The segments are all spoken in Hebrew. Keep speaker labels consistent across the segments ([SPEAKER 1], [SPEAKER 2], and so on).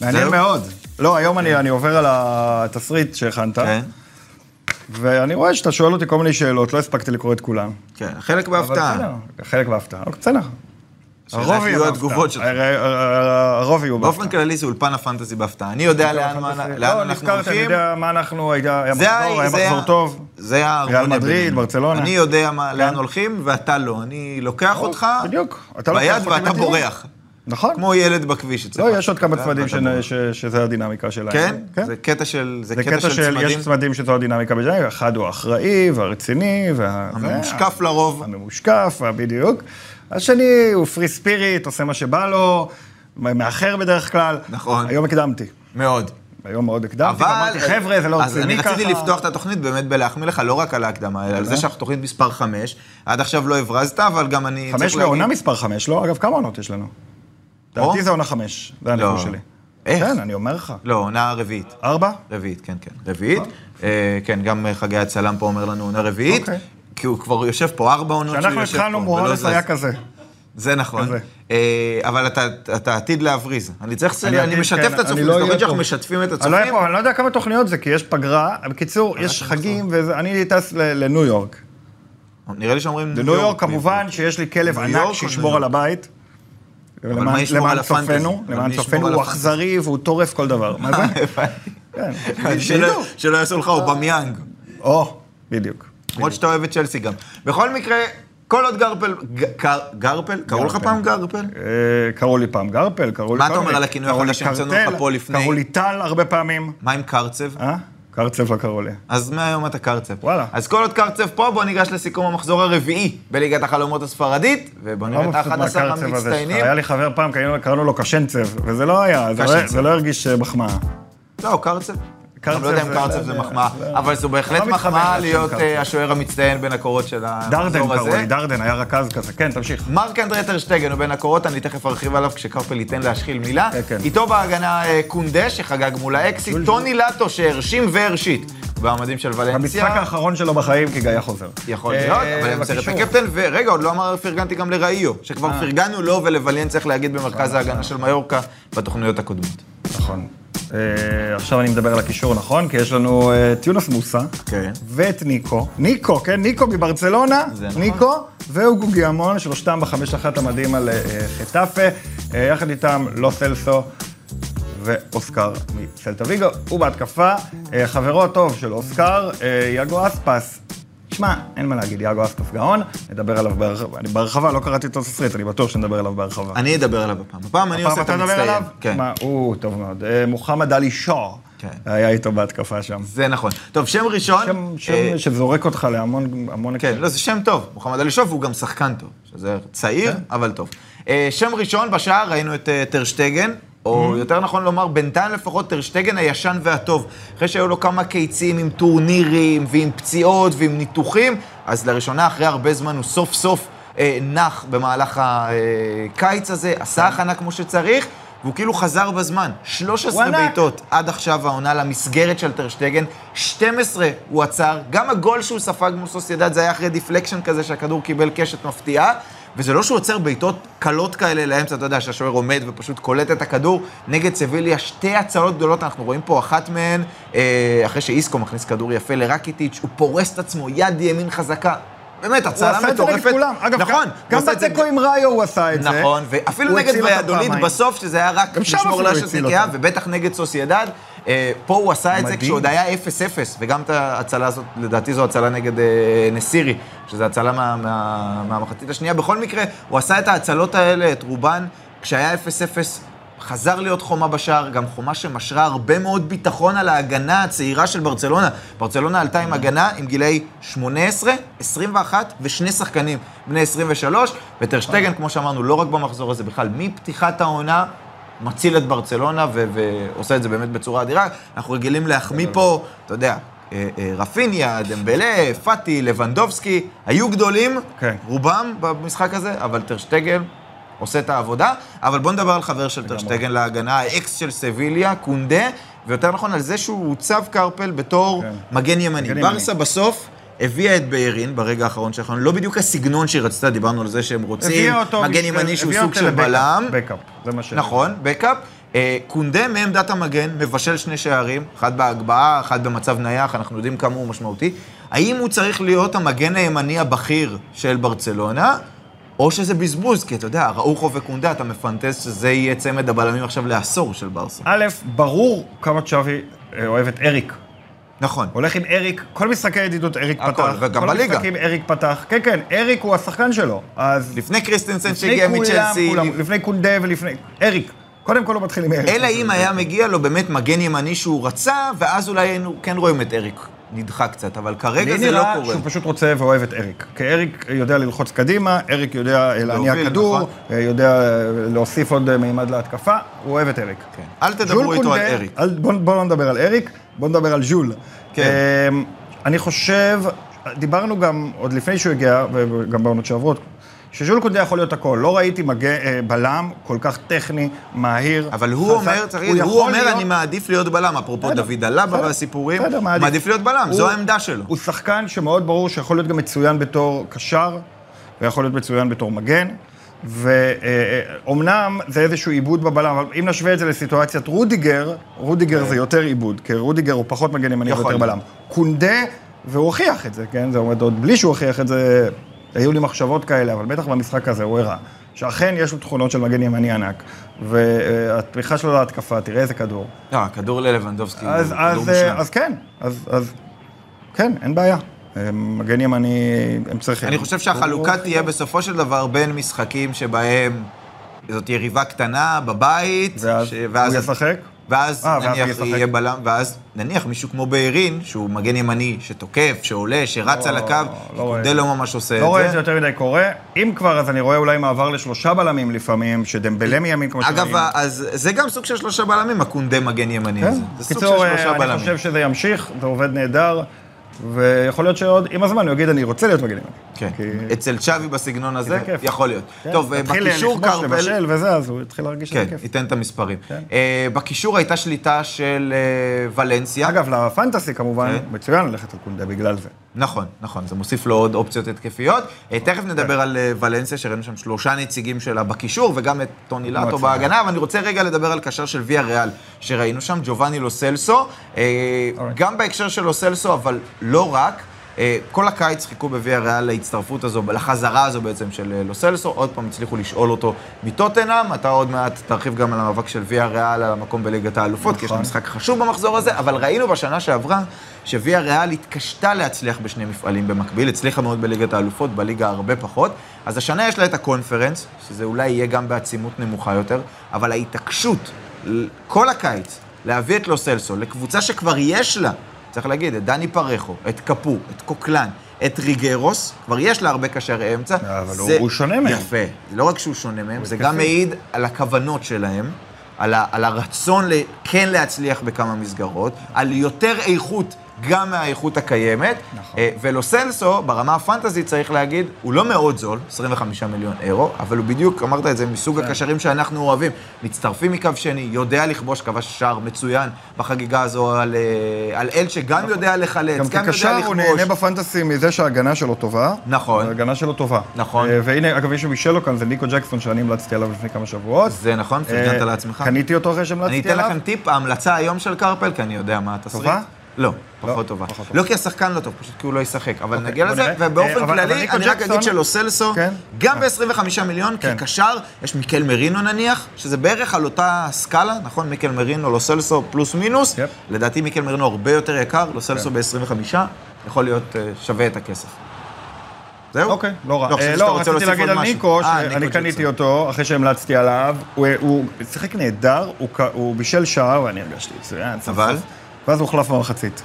[SPEAKER 1] מעניין
[SPEAKER 2] זהו?
[SPEAKER 1] מאוד. לא, היום אני אני עובר על התסריט שהכנת,
[SPEAKER 2] כן,
[SPEAKER 1] ואני רואה שאתה שואל אותי כל מיני שאלות, לא הספקתי לקרוא את כולם.
[SPEAKER 2] כן, חלק
[SPEAKER 1] אבל
[SPEAKER 2] בהפתעה.
[SPEAKER 1] בסדר, חלק בהפתעה. אבל בסדר.
[SPEAKER 2] שאלה איך יהיו
[SPEAKER 1] בהפתעה.
[SPEAKER 2] התגובות שלך.
[SPEAKER 1] הרי- הרי- הרוב יהיו בהפתעה.
[SPEAKER 2] באופן כללי זה אולפן הפנטזי בהפתעה. אני יודע לאן מה- לאן
[SPEAKER 1] אוקיי, לא,
[SPEAKER 2] אנחנו
[SPEAKER 1] נזכרת, אני
[SPEAKER 2] הולכים.
[SPEAKER 1] יודע מה אנחנו, היה היה
[SPEAKER 2] זה
[SPEAKER 1] מחזור, היה
[SPEAKER 2] זה
[SPEAKER 1] מחזור טוב.
[SPEAKER 2] זה ההרמוניה.
[SPEAKER 1] ריאל מדריד,
[SPEAKER 2] בינינו.
[SPEAKER 1] ברצלונה. כן.
[SPEAKER 2] אני יודע מה- לאן הולכים, ואתה לא. אני לוקח אותך
[SPEAKER 1] בדיוק. אתה לוקח
[SPEAKER 2] ביד
[SPEAKER 1] אותי
[SPEAKER 2] ואתה
[SPEAKER 1] בדיוק.
[SPEAKER 2] בורח.
[SPEAKER 1] נכון.
[SPEAKER 2] כמו ילד בכביש אצלך.
[SPEAKER 1] לא, יש עוד כמה
[SPEAKER 2] כן,
[SPEAKER 1] צמדים
[SPEAKER 2] ואתה
[SPEAKER 1] שנ-
[SPEAKER 2] בורח.
[SPEAKER 1] ש- שזה הדינמיקה שלהם.
[SPEAKER 2] כן? זה קטע של זה
[SPEAKER 1] זה
[SPEAKER 2] קטע של צמדים.
[SPEAKER 1] יש צמדים שזו הדינמיקה בג'אנג, אחד הוא האחראי והרציני, וה...
[SPEAKER 2] הממושקף
[SPEAKER 1] אה,
[SPEAKER 2] לרוב.
[SPEAKER 1] הממושקף, וה- בדיוק. השני הוא פרי ספיריט, עושה מה שבא לו, מ- מאחר בדרך כלל.
[SPEAKER 2] נכון.
[SPEAKER 1] היום הקדמתי.
[SPEAKER 2] מאוד.
[SPEAKER 1] היום מאוד הקדמתי,
[SPEAKER 2] אבל...
[SPEAKER 1] אמרתי, חבר'ה, זה לא
[SPEAKER 2] אז
[SPEAKER 1] רציני
[SPEAKER 2] אני
[SPEAKER 1] ככה. אה.
[SPEAKER 2] רציתי לפתוח את התוכנית באמת בלהחמיא לך, לא רק על ההקדמה, אלא על זה שאנחנו תוכנית מספר 5. עד עכשיו לא הברזת, אבל גם אני...
[SPEAKER 1] חמש
[SPEAKER 2] צריך
[SPEAKER 1] בעונה
[SPEAKER 2] להגיד-
[SPEAKER 1] מספר חמש, לא? אגב, כמה עונות יש לנו?
[SPEAKER 2] או?
[SPEAKER 1] לדעתי זה עונה חמש, זה
[SPEAKER 2] לא.
[SPEAKER 1] הנכון שלי.
[SPEAKER 2] איך?
[SPEAKER 1] כן, אני אומר לך.
[SPEAKER 2] לא, עונה רביעית.
[SPEAKER 1] ארבע?
[SPEAKER 2] רביעית, כן, כן. רביעית. אה, כן, גם אה, חגי הצלם פה אומר לנו עונה רביעית.
[SPEAKER 1] אוקיי.
[SPEAKER 2] כי הוא כבר יושב פה ארבע עונות שהוא
[SPEAKER 1] כשאנחנו
[SPEAKER 2] יושב פה.
[SPEAKER 1] התחלנו
[SPEAKER 2] ולא
[SPEAKER 1] מורלס
[SPEAKER 2] זז.
[SPEAKER 1] היה כזה.
[SPEAKER 2] זה נכון.
[SPEAKER 1] כזה.
[SPEAKER 2] אה, אבל אתה- אתה עתיד להבריז. אני צריך... לסיים- אני
[SPEAKER 1] עתיד, כן,
[SPEAKER 2] משתף את
[SPEAKER 1] אני
[SPEAKER 2] הצופים.
[SPEAKER 1] לא
[SPEAKER 2] זאת
[SPEAKER 1] אהיה
[SPEAKER 2] אומרת שאנחנו
[SPEAKER 1] פה.
[SPEAKER 2] משתפים את
[SPEAKER 1] אני לא אהיה
[SPEAKER 2] הצופים.
[SPEAKER 1] פה, אבל אני לא יודע כמה תוכניות זה, כי יש פגרה. בקיצור, יש חגים, ואני טס ל- לניו יורק.
[SPEAKER 2] נראה לי שאומרים...
[SPEAKER 1] לניו יורק, כמובן שיש לי כלב
[SPEAKER 2] ניו
[SPEAKER 1] ענק
[SPEAKER 2] יורק או ניו
[SPEAKER 1] שישמור
[SPEAKER 2] יורק?
[SPEAKER 1] על הבית.
[SPEAKER 2] מה
[SPEAKER 1] למען
[SPEAKER 2] ישמור
[SPEAKER 1] למען
[SPEAKER 2] על הפנטזי?
[SPEAKER 1] צופינו,
[SPEAKER 2] אבל
[SPEAKER 1] למען
[SPEAKER 2] מי ישמור
[SPEAKER 1] צופינו,
[SPEAKER 2] על
[SPEAKER 1] הוא
[SPEAKER 2] הפנטזי? אה,
[SPEAKER 1] אכזרי והוא טורף כל דבר. מה זה?
[SPEAKER 2] הבנתי.
[SPEAKER 1] כן.
[SPEAKER 2] שלא-
[SPEAKER 1] שידעו.
[SPEAKER 2] שלא יעשו לך אובמיאנג.
[SPEAKER 1] או, בדיוק.
[SPEAKER 2] למרות שאתה אוהב את צ'לסי גם. בכל מקרה, כל עוד גרפל... ג- קר- גרפל? קראו לך
[SPEAKER 1] גרפל.
[SPEAKER 2] פעם גרפל?
[SPEAKER 1] אה, קראו לי פעם גרפל, קראו לי...
[SPEAKER 2] מה אתה
[SPEAKER 1] כל
[SPEAKER 2] אומר
[SPEAKER 1] מיני.
[SPEAKER 2] על הכינוי
[SPEAKER 1] קראו לי
[SPEAKER 2] החדש שהמצאנו לך
[SPEAKER 1] קרטל,
[SPEAKER 2] פה לפני?
[SPEAKER 1] קראו לי טל הרבה פעמים.
[SPEAKER 2] מה עם קרצב?
[SPEAKER 1] אה? קרצב לא קראו לי.
[SPEAKER 2] אז מהיום אתה קרצב.
[SPEAKER 1] וואלה.
[SPEAKER 2] אז כל עוד קרצב פה, בוא ניגש לסיכום המחזור הרביעי בליגת החלומות הספרדית, ובוא
[SPEAKER 1] לא
[SPEAKER 2] נראה את
[SPEAKER 1] מבסוט
[SPEAKER 2] ה-11
[SPEAKER 1] מהקרצב הזה שלך.
[SPEAKER 2] המצטיינים.
[SPEAKER 1] היה לי חבר פעם, קראנו- קראנו לו קשנצב, וזה לא היה, זה לא-
[SPEAKER 2] קשנצב.
[SPEAKER 1] זה לא הרגיש אה, מחמאה.
[SPEAKER 2] לא, קרצב.
[SPEAKER 1] קרצב
[SPEAKER 2] אני לא יודע אם
[SPEAKER 1] זה-
[SPEAKER 2] קרצב זה
[SPEAKER 1] זה-
[SPEAKER 2] מחמאה,
[SPEAKER 1] זה-
[SPEAKER 2] אבל זו בהחלט
[SPEAKER 1] לא מתחבר
[SPEAKER 2] מחמאה
[SPEAKER 1] לשם
[SPEAKER 2] להיות
[SPEAKER 1] קרצב.
[SPEAKER 2] אה, השוער המצטיין בין הקורות של
[SPEAKER 1] דרדן
[SPEAKER 2] המחזור
[SPEAKER 1] קראו
[SPEAKER 2] הזה.
[SPEAKER 1] לי, דרדן היה רכז כזה. כן, תמשיך.
[SPEAKER 2] מרק אנדרי טרשטגן הוא בין הקורות, אני תכף ארחיב עליו כשקרפל ייתן להשחיל מילה.
[SPEAKER 1] כן, כן.
[SPEAKER 2] איתו בהגנה אה, קונדה, שחגג מול האקסיט, טוני לטו, שהרשים והרשית. במדים של
[SPEAKER 1] המשחק
[SPEAKER 2] ולנסיה,
[SPEAKER 1] האחרון שלו בחיים, כי גיא חוזר.
[SPEAKER 2] יכול
[SPEAKER 1] אה,
[SPEAKER 2] להיות, אבל הם
[SPEAKER 1] בקישור. אה.
[SPEAKER 2] צריכים את הקפטן, ורגע, עוד לא אמר, פרגנתי גם לראיו, שכבר פרגנו לו ולווליאן, צריך להגיד, במרכז ההגנה של מיורקה, בתוכניות הקודמות.
[SPEAKER 1] נכון. אה, עכשיו אני מדבר על הקישור, נכון? כי יש לנו אה, את יונס מוסה,
[SPEAKER 2] כן.
[SPEAKER 1] ואת ניקו. ניקו, כן? ניקו מברצלונה,
[SPEAKER 2] זה נכון.
[SPEAKER 1] ניקו, והוגו גיאמון, שלושתם בחמש אחת המדהים על אה, חטאפה. אה, יחד איתם לא סלסו ואוסקר מסלטה ויגו. הוא בהתקפה, אה, חברו הטוב של אוסקר, אה, יאגו אספס. שמע, אין מה להגיד, יאגו אספס גאון, נדבר עליו בהרחבה. אני בהרחבה, לא קראתי את התסריט, אני בטוח שנדבר עליו בהרחבה.
[SPEAKER 2] אני אדבר עליו הפעם. הפעם אני עושה את
[SPEAKER 1] הפעם אתה
[SPEAKER 2] המצטיין.
[SPEAKER 1] מדבר עליו?
[SPEAKER 2] כן.
[SPEAKER 1] מה, הוא טוב מאוד. אה, מוחמד עלי שור
[SPEAKER 2] כן.
[SPEAKER 1] היה איתו בהתקפה שם.
[SPEAKER 2] זה נכון. טוב, שם ראשון.
[SPEAKER 1] שם-
[SPEAKER 2] אה,
[SPEAKER 1] שם שזורק אותך להמון... המון
[SPEAKER 2] כן,
[SPEAKER 1] הקשר.
[SPEAKER 2] לא, זה שם טוב. מוחמד עלי שוב הוא גם שחקן טוב. שזה צעיר, אבל טוב. אה, שם ראשון בשער ראינו את אה, טרשטגן, או יותר נכון לומר, בינתיים לפחות טרשטגן הישן והטוב. אחרי שהיו לו כמה קיצים עם טורנירים, ועם פציעות, ועם ניתוחים, אז לראשונה, אחרי הרבה זמן, הוא סוף סוף אה, נח במהלך הקיץ הזה, עשה הכנה כמו שצריך. והוא כאילו חזר בזמן, 13
[SPEAKER 1] וואלה.
[SPEAKER 2] בעיטות עד עכשיו העונה למסגרת של טרשטגן, 12 הוא עצר, גם הגול שהוא ספג מול סוסיידד זה היה אחרי דיפלקשן כזה שהכדור קיבל קשת מפתיעה, וזה לא שהוא עוצר בעיטות קלות כאלה לאמצע, אתה יודע, שהשוער עומד ופשוט קולט את הכדור, נגד סביליה שתי הצלות גדולות, אנחנו רואים פה אחת מהן, אה, אחרי שאיסקו מכניס כדור יפה לרקיטיץ', הוא פורס את עצמו, יד ימין חזקה. באמת,
[SPEAKER 1] הוא
[SPEAKER 2] הצלה מטורפת.
[SPEAKER 1] עשה את זה נגד כולם. אגב,
[SPEAKER 2] נכון.
[SPEAKER 1] גם-
[SPEAKER 2] הוא
[SPEAKER 1] גם
[SPEAKER 2] עשה את זה-
[SPEAKER 1] בתיקו עם ראיו הוא עשה את זה.
[SPEAKER 2] נכון, ואפילו
[SPEAKER 1] הוא
[SPEAKER 2] נגד
[SPEAKER 1] הציל אותם
[SPEAKER 2] ויאדוליד
[SPEAKER 1] פעמיים.
[SPEAKER 2] בסוף, שזה היה רק
[SPEAKER 1] גם שם
[SPEAKER 2] לשמור
[SPEAKER 1] אפילו
[SPEAKER 2] לה של
[SPEAKER 1] הציל
[SPEAKER 2] נקייה,
[SPEAKER 1] אותם.
[SPEAKER 2] ובטח נגד סוסיידד. אה, פה הוא עשה את זה
[SPEAKER 1] מדהים.
[SPEAKER 2] כשעוד היה 0-0, וגם את ההצלה הזאת, לדעתי זו הצלה נגד אה, נסירי, שזו הצלה מה- מה- מהמחצית השנייה. בכל מקרה, הוא עשה את ההצלות האלה, את רובן, כשהיה 0-0. חזר להיות חומה בשער, גם חומה שמשרה הרבה מאוד ביטחון על ההגנה הצעירה של ברצלונה. ברצלונה עלתה עם הגנה עם גילאי 18, 21 ושני שחקנים בני 23, וטרשטגן, כמו שאמרנו, לא רק במחזור הזה, בכלל מפתיחת העונה, מציל את ברצלונה ו- ועושה את זה באמת בצורה אדירה. אנחנו רגילים להחמיא פה, אתה יודע, אה, אה, רפיניה, דמבלה, פאטי, לבנדובסקי, היו גדולים,
[SPEAKER 1] כן.
[SPEAKER 2] רובם במשחק הזה, אבל טרשטגן עושה את העבודה. אבל בוא נדבר על חבר של טרשטגן להגנה, האקס של סביליה, קונדה, ויותר נכון, על זה שהוא הוצב קרפל בתור
[SPEAKER 1] כן.
[SPEAKER 2] מגן ימני.
[SPEAKER 1] מגן
[SPEAKER 2] ברסה בסוף... הביאה את בארין ברגע האחרון שלנו, לא בדיוק הסגנון שהיא רצתה, דיברנו על זה שהם רוצים
[SPEAKER 1] הביאה אותו
[SPEAKER 2] מגן
[SPEAKER 1] בשביל-
[SPEAKER 2] ימני שהוא
[SPEAKER 1] הביאה
[SPEAKER 2] סוג
[SPEAKER 1] אותו
[SPEAKER 2] של
[SPEAKER 1] לבקאפ,
[SPEAKER 2] בלם.
[SPEAKER 1] בקאפ, זה מה ש...
[SPEAKER 2] נכון, בקאפ. אה, קונדה מעמדת המגן מבשל שני שערים, אחד בהגבהה, אחד במצב נייח, אנחנו יודעים כמה הוא משמעותי. האם הוא צריך להיות המגן הימני הבכיר של ברצלונה, או שזה בזבוז? כי אתה יודע, ראוכו וקונדה, אתה מפנטז שזה יהיה צמד הבלמים עכשיו לעשור של ברסה.
[SPEAKER 1] א', ברור כמה צ'אבי אה, אוהב את אריק.
[SPEAKER 2] נכון.
[SPEAKER 1] הולך עם אריק, כל משחקי הידידות אריק
[SPEAKER 2] הכל,
[SPEAKER 1] פתח.
[SPEAKER 2] וגם
[SPEAKER 1] כל
[SPEAKER 2] בליגה.
[SPEAKER 1] המשחקים אריק פתח. כן, כן, אריק הוא השחקן שלו. אז
[SPEAKER 2] לפני קריסטנסן
[SPEAKER 1] לפני
[SPEAKER 2] שהגיע מצ'לסי,
[SPEAKER 1] לפני קונדה ולפני... אריק. קודם כל הוא מתחיל עם אריק.
[SPEAKER 2] אלא אם היה מגיע לו באמת מגן ימני שהוא רצה, ואז אולי היינו כן רואים את אריק נדחה קצת, אבל כרגע
[SPEAKER 1] לי
[SPEAKER 2] זה לא
[SPEAKER 1] נראה
[SPEAKER 2] קורה.
[SPEAKER 1] שהוא פשוט רוצה ואוהב את אריק. כי אריק יודע ללחוץ קדימה, אריק יודע אה, להניע
[SPEAKER 2] להוביל,
[SPEAKER 1] כדור,
[SPEAKER 2] נכון.
[SPEAKER 1] אה, יודע אה, להוסיף עוד אה, מימד להתקפה, הוא אוהב את אריק.
[SPEAKER 2] כן. אל
[SPEAKER 1] ז'ול
[SPEAKER 2] תדברו איתו על
[SPEAKER 1] קונדה,
[SPEAKER 2] אריק.
[SPEAKER 1] אל- בוא, בוא לא נדבר על אריק, בוא נדבר על ז'ול.
[SPEAKER 2] כן.
[SPEAKER 1] אמ, אני חושב, דיברנו גם עוד לפני שהוא הגיע, וגם בעונות שעברות, שז'ול קונדה יכול להיות הכל. לא ראיתי מגן, אה, בלם כל כך טכני, מהיר.
[SPEAKER 2] אבל הוא
[SPEAKER 1] חזק.
[SPEAKER 2] אומר, צריך להגיד, הוא
[SPEAKER 1] יכול
[SPEAKER 2] אומר,
[SPEAKER 1] להיות-
[SPEAKER 2] אני מעדיף להיות בלם, אפרופו
[SPEAKER 1] בסדר,
[SPEAKER 2] דוד אלבה
[SPEAKER 1] בסדר,
[SPEAKER 2] והסיפורים,
[SPEAKER 1] בסדר,
[SPEAKER 2] מעדיף להיות בלם, זו
[SPEAKER 1] הוא-
[SPEAKER 2] העמדה שלו.
[SPEAKER 1] הוא שחקן שמאוד ברור שיכול להיות גם מצוין בתור קשר, ויכול להיות מצוין בתור מגן. ואומנם זה איזשהו עיבוד בבלם, אבל אם נשווה את זה לסיטואציית רודיגר, רודיגר זה יותר עיבוד, כי רודיגר הוא פחות מגן ימני
[SPEAKER 2] יכול
[SPEAKER 1] ויותר
[SPEAKER 2] להיות.
[SPEAKER 1] בלם. קונדה, והוא הוכיח את זה, כן? זה עומד עוד בלי שהוא הוכיח את זה, היו לי מחשבות כאלה, אבל בטח במשחק הזה הוא הראה, שאכן יש לו תכונות של מגן ימני ענק, והתמיכה שלו להתקפה, תראה איזה כדור.
[SPEAKER 2] לא, כדור ללבנדובסקי, הוא
[SPEAKER 1] אז,
[SPEAKER 2] כדור
[SPEAKER 1] אז, אה,
[SPEAKER 2] מושלם.
[SPEAKER 1] אז כן, אז, אז כן, אין בעיה. אה, מגן ימני, הם צריכים.
[SPEAKER 2] אני חושב שהחלוקה תהיה בסופו של דבר בין משחקים שבהם זאת יריבה קטנה בבית,
[SPEAKER 1] ואז
[SPEAKER 2] ש-
[SPEAKER 1] הוא ישחק?
[SPEAKER 2] ואז
[SPEAKER 1] אה, ואז הוא
[SPEAKER 2] נניח
[SPEAKER 1] ישחק.
[SPEAKER 2] יהיה בלם, ואז נניח מישהו כמו בארין, שהוא מגן ימני, שתוקף, שעולה, שרץ
[SPEAKER 1] לא,
[SPEAKER 2] על הקו,
[SPEAKER 1] לא רואה את
[SPEAKER 2] קונדה
[SPEAKER 1] זה.
[SPEAKER 2] לא ממש עושה
[SPEAKER 1] לא רואה את
[SPEAKER 2] את
[SPEAKER 1] זה
[SPEAKER 2] זה.
[SPEAKER 1] יותר מדי קורה. אם כבר, אז אני רואה אולי מעבר לשלושה בלמים לפעמים, שדמבלה מימין, כמו
[SPEAKER 2] אגב, אה, אז זה גם סוג של שלושה בלמים, הקונדה מגן ימני הזה. זה סוג של
[SPEAKER 1] בקיצור,
[SPEAKER 2] שלושה
[SPEAKER 1] כן. אה, אני
[SPEAKER 2] בלמים.
[SPEAKER 1] חושב שזה ימשיך, זה עובד נהדר, ויכול להיות שעוד, עם הזמן הוא יגיד, אני רוצה להיות מגן ימני.
[SPEAKER 2] כן,
[SPEAKER 1] כי-
[SPEAKER 2] אצל צ'אבי בסגנון הזה,
[SPEAKER 1] זה כיף.
[SPEAKER 2] יכול להיות.
[SPEAKER 1] כן,
[SPEAKER 2] טוב, אה,
[SPEAKER 1] תתחיל
[SPEAKER 2] בקישור
[SPEAKER 1] לכבוש,
[SPEAKER 2] קרפל...
[SPEAKER 1] לבשל וזה, אז הוא יתחיל להרגיש שזה
[SPEAKER 2] כן,
[SPEAKER 1] כיף.
[SPEAKER 2] ייתן את המספרים.
[SPEAKER 1] כן.
[SPEAKER 2] אה, בקישור הייתה שליטה של אה, ולנסיה.
[SPEAKER 1] אגב, לפנטסי כמובן,
[SPEAKER 2] כן.
[SPEAKER 1] מצוין ללכת על קונדה בגלל זה.
[SPEAKER 2] נכון, נכון, זה מוסיף לו עוד אופציות התקפיות. אה, תכף נדבר על אה, ולנסיה, שראינו שם שלושה נציגים שלה בקישור, וגם את טוני
[SPEAKER 1] הצלחה.
[SPEAKER 2] לטו בהגנה, אבל אני רוצה רגע לדבר על קשר של ויה ריאל, שראינו שם, ג'ובאני לוסלסו, אה,
[SPEAKER 1] אוקיי.
[SPEAKER 2] גם בהקשר של לוסלסו, אבל לא רק. אה, כל הקיץ חיכו בוויה ריאל להצטרפות הזו, לחזרה הזו בעצם של אה, לוסלסו, עוד פעם הצליחו לשאול אותו מטוטנאם, אתה עוד מעט תרחיב גם על המאבק של ויה ריאל על המקום בליגת האלופות, כי יש
[SPEAKER 1] נכון.
[SPEAKER 2] להם משחק חשוב במחזור הזה, אבל ראינו בשנה שעברה שוויה ריאל התקשתה להצליח בשני מפעלים במקביל, הצליחה מאוד בליגת האלופות, בליגה הרבה פחות. אז השנה יש לה את הקונפרנס, שזה אולי יהיה גם בעצימות נמוכה יותר, אבל ההתעקשות ל- כל הקיץ להביא את לוסלסו לקבוצה שכבר יש לה, צריך להגיד, את דני פרחו, את קפו, את קוקלן. את ריגרוס, כבר יש לה הרבה קשרי אמצע.
[SPEAKER 1] אבל הוא-
[SPEAKER 2] זה-
[SPEAKER 1] הוא שונה מהם.
[SPEAKER 2] יפה. לא רק שהוא שונה מהם, זה
[SPEAKER 1] התקפי.
[SPEAKER 2] גם מעיד על הכוונות שלהם, על, ה, על הרצון ל, כן להצליח בכמה מסגרות, על יותר איכות גם מהאיכות הקיימת.
[SPEAKER 1] נכון.
[SPEAKER 2] אה, ולוסלסו, ברמה הפנטזית צריך להגיד, הוא לא מאוד זול, 25 מיליון אירו, אבל הוא בדיוק, אמרת את זה, מסוג
[SPEAKER 1] כן.
[SPEAKER 2] הקשרים שאנחנו אוהבים. מצטרפים מקו שני, יודע לכבוש, כבש שער מצוין בחגיגה הזו על, אה, על אלצ'ה, גם יודע לחלץ, גם,
[SPEAKER 1] נכון. גם
[SPEAKER 2] יודע לכבוש.
[SPEAKER 1] כקשר הוא נהנה בפנטסי מזה שההגנה שלו טובה.
[SPEAKER 2] נכון.
[SPEAKER 1] ההגנה שלו טובה.
[SPEAKER 2] נכון.
[SPEAKER 1] אה, והנה, אגב, מי שבישל לו כאן זה ניקו ג'קסון, שאני המלצתי עליו לפני כמה שבועות.
[SPEAKER 2] זה נכון, פרגנת
[SPEAKER 1] אה,
[SPEAKER 2] לעצמך.
[SPEAKER 1] קניתי אותו אחרי
[SPEAKER 2] אני
[SPEAKER 1] שהמלצתי
[SPEAKER 2] אתן
[SPEAKER 1] עליו.
[SPEAKER 2] לכם טיפ, ההמלצה היום של קרפל, כי אני יודע מה התסריט.
[SPEAKER 1] טובה?
[SPEAKER 2] לא,
[SPEAKER 1] לא,
[SPEAKER 2] פחות טובה.
[SPEAKER 1] פחות טובה.
[SPEAKER 2] לא כי השחקן לא טוב, פשוט כי הוא לא ישחק. אבל
[SPEAKER 1] אוקיי,
[SPEAKER 2] נגיע
[SPEAKER 1] בוא
[SPEAKER 2] לזה,
[SPEAKER 1] נראה. אה,
[SPEAKER 2] ובאופן
[SPEAKER 1] אבל- אבל
[SPEAKER 2] כללי,
[SPEAKER 1] ניקו
[SPEAKER 2] אני רק
[SPEAKER 1] ג'קסון-
[SPEAKER 2] אגיד שלו סלסו,
[SPEAKER 1] כן.
[SPEAKER 2] גם
[SPEAKER 1] אה.
[SPEAKER 2] ב-25 מיליון,
[SPEAKER 1] כן.
[SPEAKER 2] כקשר, יש מיקל מרינו נניח, שזה בערך על אותה סקאלה, נכון? מיקל מרינו, לא סלסו, פלוס מינוס.
[SPEAKER 1] יפ. כן.
[SPEAKER 2] לדעתי מיקל מרינו הרבה יותר יקר, לא סלסו ב-25, יכול להיות אה, שווה את הכסף. זהו?
[SPEAKER 1] אוקיי, לא רע.
[SPEAKER 2] חשבתי
[SPEAKER 1] אה,
[SPEAKER 2] שאתה
[SPEAKER 1] לא, רציתי
[SPEAKER 2] רוצה להוסיף
[SPEAKER 1] להגיד
[SPEAKER 2] עוד
[SPEAKER 1] על
[SPEAKER 2] משהו.
[SPEAKER 1] ניקו,
[SPEAKER 2] אה, ניקו
[SPEAKER 1] שאני
[SPEAKER 2] ג'קסון.
[SPEAKER 1] קניתי אותו אחרי שהמלצתי עליו. הוא- הוא שיחק נהדר, הוא כ- הוא בישל שער, ואני הרגשתי מצוין. סוף
[SPEAKER 2] אבל?
[SPEAKER 1] סוף. ואז הוא הוחלף במחצית.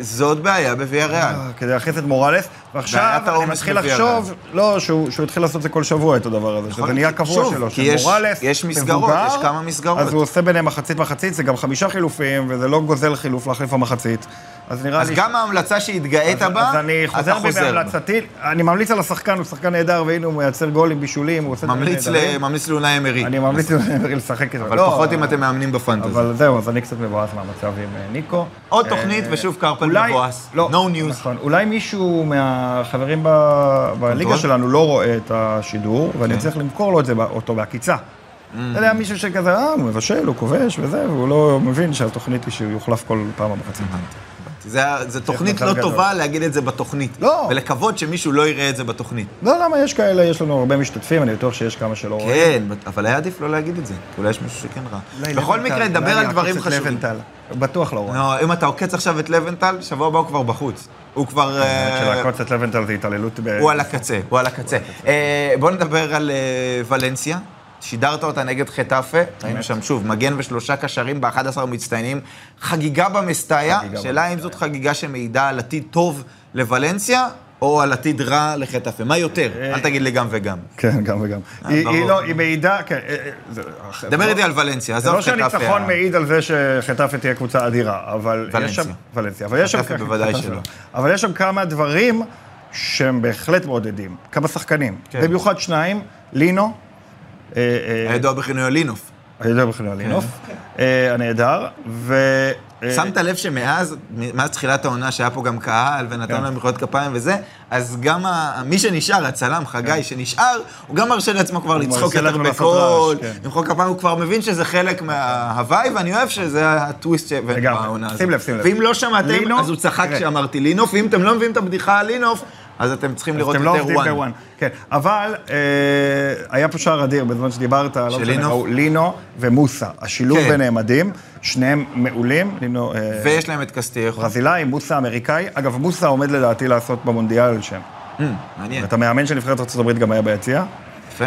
[SPEAKER 2] זאת בעיה בוויה ריאל.
[SPEAKER 1] אה, כדי להכניס את מורלס, ועכשיו
[SPEAKER 2] בעיית
[SPEAKER 1] אני
[SPEAKER 2] העומס
[SPEAKER 1] מתחיל
[SPEAKER 2] בוויה
[SPEAKER 1] לחשוב, לא, שהוא שהוא התחיל לעשות את זה כל שבוע, את הדבר הזה, שזה נהיה קבוע
[SPEAKER 2] שוב,
[SPEAKER 1] שלו,
[SPEAKER 2] נכון, כי
[SPEAKER 1] של
[SPEAKER 2] יש-
[SPEAKER 1] מורלס,
[SPEAKER 2] יש מסגרות,
[SPEAKER 1] מבוגר,
[SPEAKER 2] יש כמה מסגרות.
[SPEAKER 1] אז הוא עושה ביניהם מחצית-מחצית, זה גם חמישה חילופים, וזה לא גוזל חילוף להחליף המחצית. אז נראה
[SPEAKER 2] אז
[SPEAKER 1] לי...
[SPEAKER 2] גם ההמלצה שהתגאית
[SPEAKER 1] אז-
[SPEAKER 2] בה,
[SPEAKER 1] אז אני
[SPEAKER 2] אתה
[SPEAKER 1] חוזר בי
[SPEAKER 2] חוזר בה.
[SPEAKER 1] בהמלצתי, אני ממליץ על השחקן, הוא שחקן נהדר, והנה הוא מייצר גולים, בישולים, הוא עושה דברים
[SPEAKER 2] ממליץ
[SPEAKER 1] נהדרים.
[SPEAKER 2] ל- ממליץ לאונאי אמרי.
[SPEAKER 1] אני ממליץ לשחק איתו.
[SPEAKER 2] אבל
[SPEAKER 1] לא,
[SPEAKER 2] פחות אם אתם מאמנים בפנטזי.
[SPEAKER 1] אבל זהו, אז אני קצת מבואס מהמצב עם אה, ניקו.
[SPEAKER 2] עוד
[SPEAKER 1] אה,
[SPEAKER 2] תוכנית, ושוב קרפל
[SPEAKER 1] אולי-
[SPEAKER 2] מבואס.
[SPEAKER 1] לא,
[SPEAKER 2] No news.
[SPEAKER 1] נכון. אולי מישהו מהחברים
[SPEAKER 2] כן.
[SPEAKER 1] ב- בליגה שלנו לא רואה את השידור, ואני צריך למכור לו את זה, בא- אותו בעקיצה.
[SPEAKER 2] Mm.
[SPEAKER 1] אתה יודע, מישהו שכזה, אה, הוא מבשל, הוא כובש וזה, והוא לא מבין שהתוכנית היא שהוא יוחלף כל פעם במחצית.
[SPEAKER 2] זו תוכנית
[SPEAKER 1] מצב
[SPEAKER 2] לא
[SPEAKER 1] כן, גדול.
[SPEAKER 2] טובה להגיד את זה בתוכנית.
[SPEAKER 1] לא.
[SPEAKER 2] ולקוות שמישהו לא יראה את זה בתוכנית.
[SPEAKER 1] לא, למה יש כאלה, יש לנו הרבה משתתפים, אני בטוח שיש כמה שלא רואים.
[SPEAKER 2] כן, אבל היה עדיף לא להגיד את זה, כי אולי יש מישהו שכן רע. כן. בכל מקרה, דבר על דברים חשובים.
[SPEAKER 1] בטוח לא רואה.
[SPEAKER 2] לא, אם אתה עוקץ עכשיו את לבנטל, שבוע הבא הוא כבר בחוץ. הוא כבר... אה,
[SPEAKER 1] שלעקוץ את לבנטל זה התעללות ב...
[SPEAKER 2] הוא על הקצה, הוא על הקצה. אה, בוא נדבר על אה, ולנסיה. שידרת אותה נגד חטאפה, ראינו שם שוב, מגן ושלושה קשרים ב-11 המצטיינים. חגיגה במסטאיה,
[SPEAKER 1] חגיגה
[SPEAKER 2] שאלה אם
[SPEAKER 1] במסטאיה.
[SPEAKER 2] זאת חגיגה שמעידה על עתיד טוב לוולנסיה, או על עתיד רע לחטאפה. מה יותר?
[SPEAKER 1] אה,
[SPEAKER 2] אל תגיד לי גם וגם.
[SPEAKER 1] כן, גם וגם. היא
[SPEAKER 2] אה, ברור.
[SPEAKER 1] היא לא, היא מעידה, כן. אה, אה, זה-
[SPEAKER 2] דבר
[SPEAKER 1] לא-
[SPEAKER 2] איתי על ולנסיה,
[SPEAKER 1] זה
[SPEAKER 2] עזוב
[SPEAKER 1] לא
[SPEAKER 2] חטאפה.
[SPEAKER 1] שהניצחון מעיד על זה שחטאפה תהיה קבוצה אדירה, אבל יש
[SPEAKER 2] ולנסיה.
[SPEAKER 1] שם... ולנסיה. אבל יש שם...
[SPEAKER 2] חטאפה בוודאי
[SPEAKER 1] חטאפה.
[SPEAKER 2] שלא.
[SPEAKER 1] אבל יש שם כמה דברים שהם בהחלט מעודדים. כמה שחקנים.
[SPEAKER 2] כן.
[SPEAKER 1] במיוחד שניים, לינו. אה, אה,
[SPEAKER 2] הידוע בכינוי לינוף.
[SPEAKER 1] הידוע בכלל
[SPEAKER 2] כן.
[SPEAKER 1] לינוף. אה, הנהדר. ו... אה,
[SPEAKER 2] שמת לב שמאז, מאז תחילת העונה, שהיה פה גם קהל, ונתן
[SPEAKER 1] כן.
[SPEAKER 2] להם מחיאות כפיים וזה, אז גם ה- מי שנשאר, הצלם חגי שנשאר, הוא גם מרשה לעצמו כבר לצחוק
[SPEAKER 1] כן. מרשה
[SPEAKER 2] יותר
[SPEAKER 1] לעצמו לעשות
[SPEAKER 2] בקול,
[SPEAKER 1] רעש, כן.
[SPEAKER 2] למחוא כפיים, הוא כבר מבין שזה חלק מההוואי, ואני אוהב שזה הטוויסט שהבאנו
[SPEAKER 1] לגמרי.
[SPEAKER 2] בעונה הזאת.
[SPEAKER 1] שים לב, שים לב.
[SPEAKER 2] ואם לא שמעתם,
[SPEAKER 1] לינוף,
[SPEAKER 2] אז הוא צחק
[SPEAKER 1] תראה.
[SPEAKER 2] כשאמרתי לינוף, ואם אתם לא מבינים את הבדיחה על לינוף, אז אתם צריכים לראות
[SPEAKER 1] אתם לא
[SPEAKER 2] יותר
[SPEAKER 1] עובדים
[SPEAKER 2] וואן.
[SPEAKER 1] בוואן. כן, אבל אה, היה פה שער אדיר בזמן שדיברת, לא
[SPEAKER 2] של
[SPEAKER 1] משנה,
[SPEAKER 2] לינו?
[SPEAKER 1] ראו, לינו ומוסה, השילוב
[SPEAKER 2] כן.
[SPEAKER 1] ביניהם מדהים, שניהם מעולים, לינו אה,
[SPEAKER 2] ויש להם את קסטייחו.
[SPEAKER 1] ברזילאי, מוסה אמריקאי, אגב, מוסה עומד לדעתי לעשות במונדיאל שם.
[SPEAKER 2] Hmm, מעניין,
[SPEAKER 1] את המאמן של נבחרת ארה"ב גם היה ביציע,
[SPEAKER 2] יפה.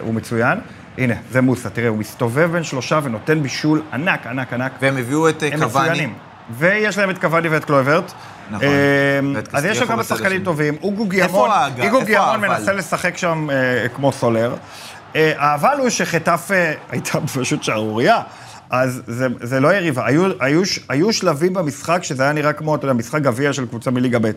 [SPEAKER 1] והוא מצוין. הנה, זה מוסה, תראה, הוא מסתובב בין שלושה ונותן בישול ענק, ענק, ענק.
[SPEAKER 2] והם הביאו את אה,
[SPEAKER 1] הם
[SPEAKER 2] קוואני.
[SPEAKER 1] מצוינים. ויש להם את קוואני ואת קלויברט.
[SPEAKER 2] נכון.
[SPEAKER 1] אמ,
[SPEAKER 2] ואת
[SPEAKER 1] אז יש שם
[SPEAKER 2] קסטיאחו
[SPEAKER 1] כמה
[SPEAKER 2] בצד השני.
[SPEAKER 1] שחקנים טובים. אוגו
[SPEAKER 2] איפה
[SPEAKER 1] גיאמון,
[SPEAKER 2] האג-
[SPEAKER 1] אוגו
[SPEAKER 2] איפה
[SPEAKER 1] גיאמון
[SPEAKER 2] האבל?
[SPEAKER 1] מנסה לשחק שם אה, כמו סולר. אה, האבל הוא שחטאפה אה, הייתה פשוט שערורייה. אז זה, זה לא יריבה. היו, היו, ש- היו שלבים במשחק שזה היה נראה כמו, אתה יודע, משחק גביע של קבוצה מליגה ב'.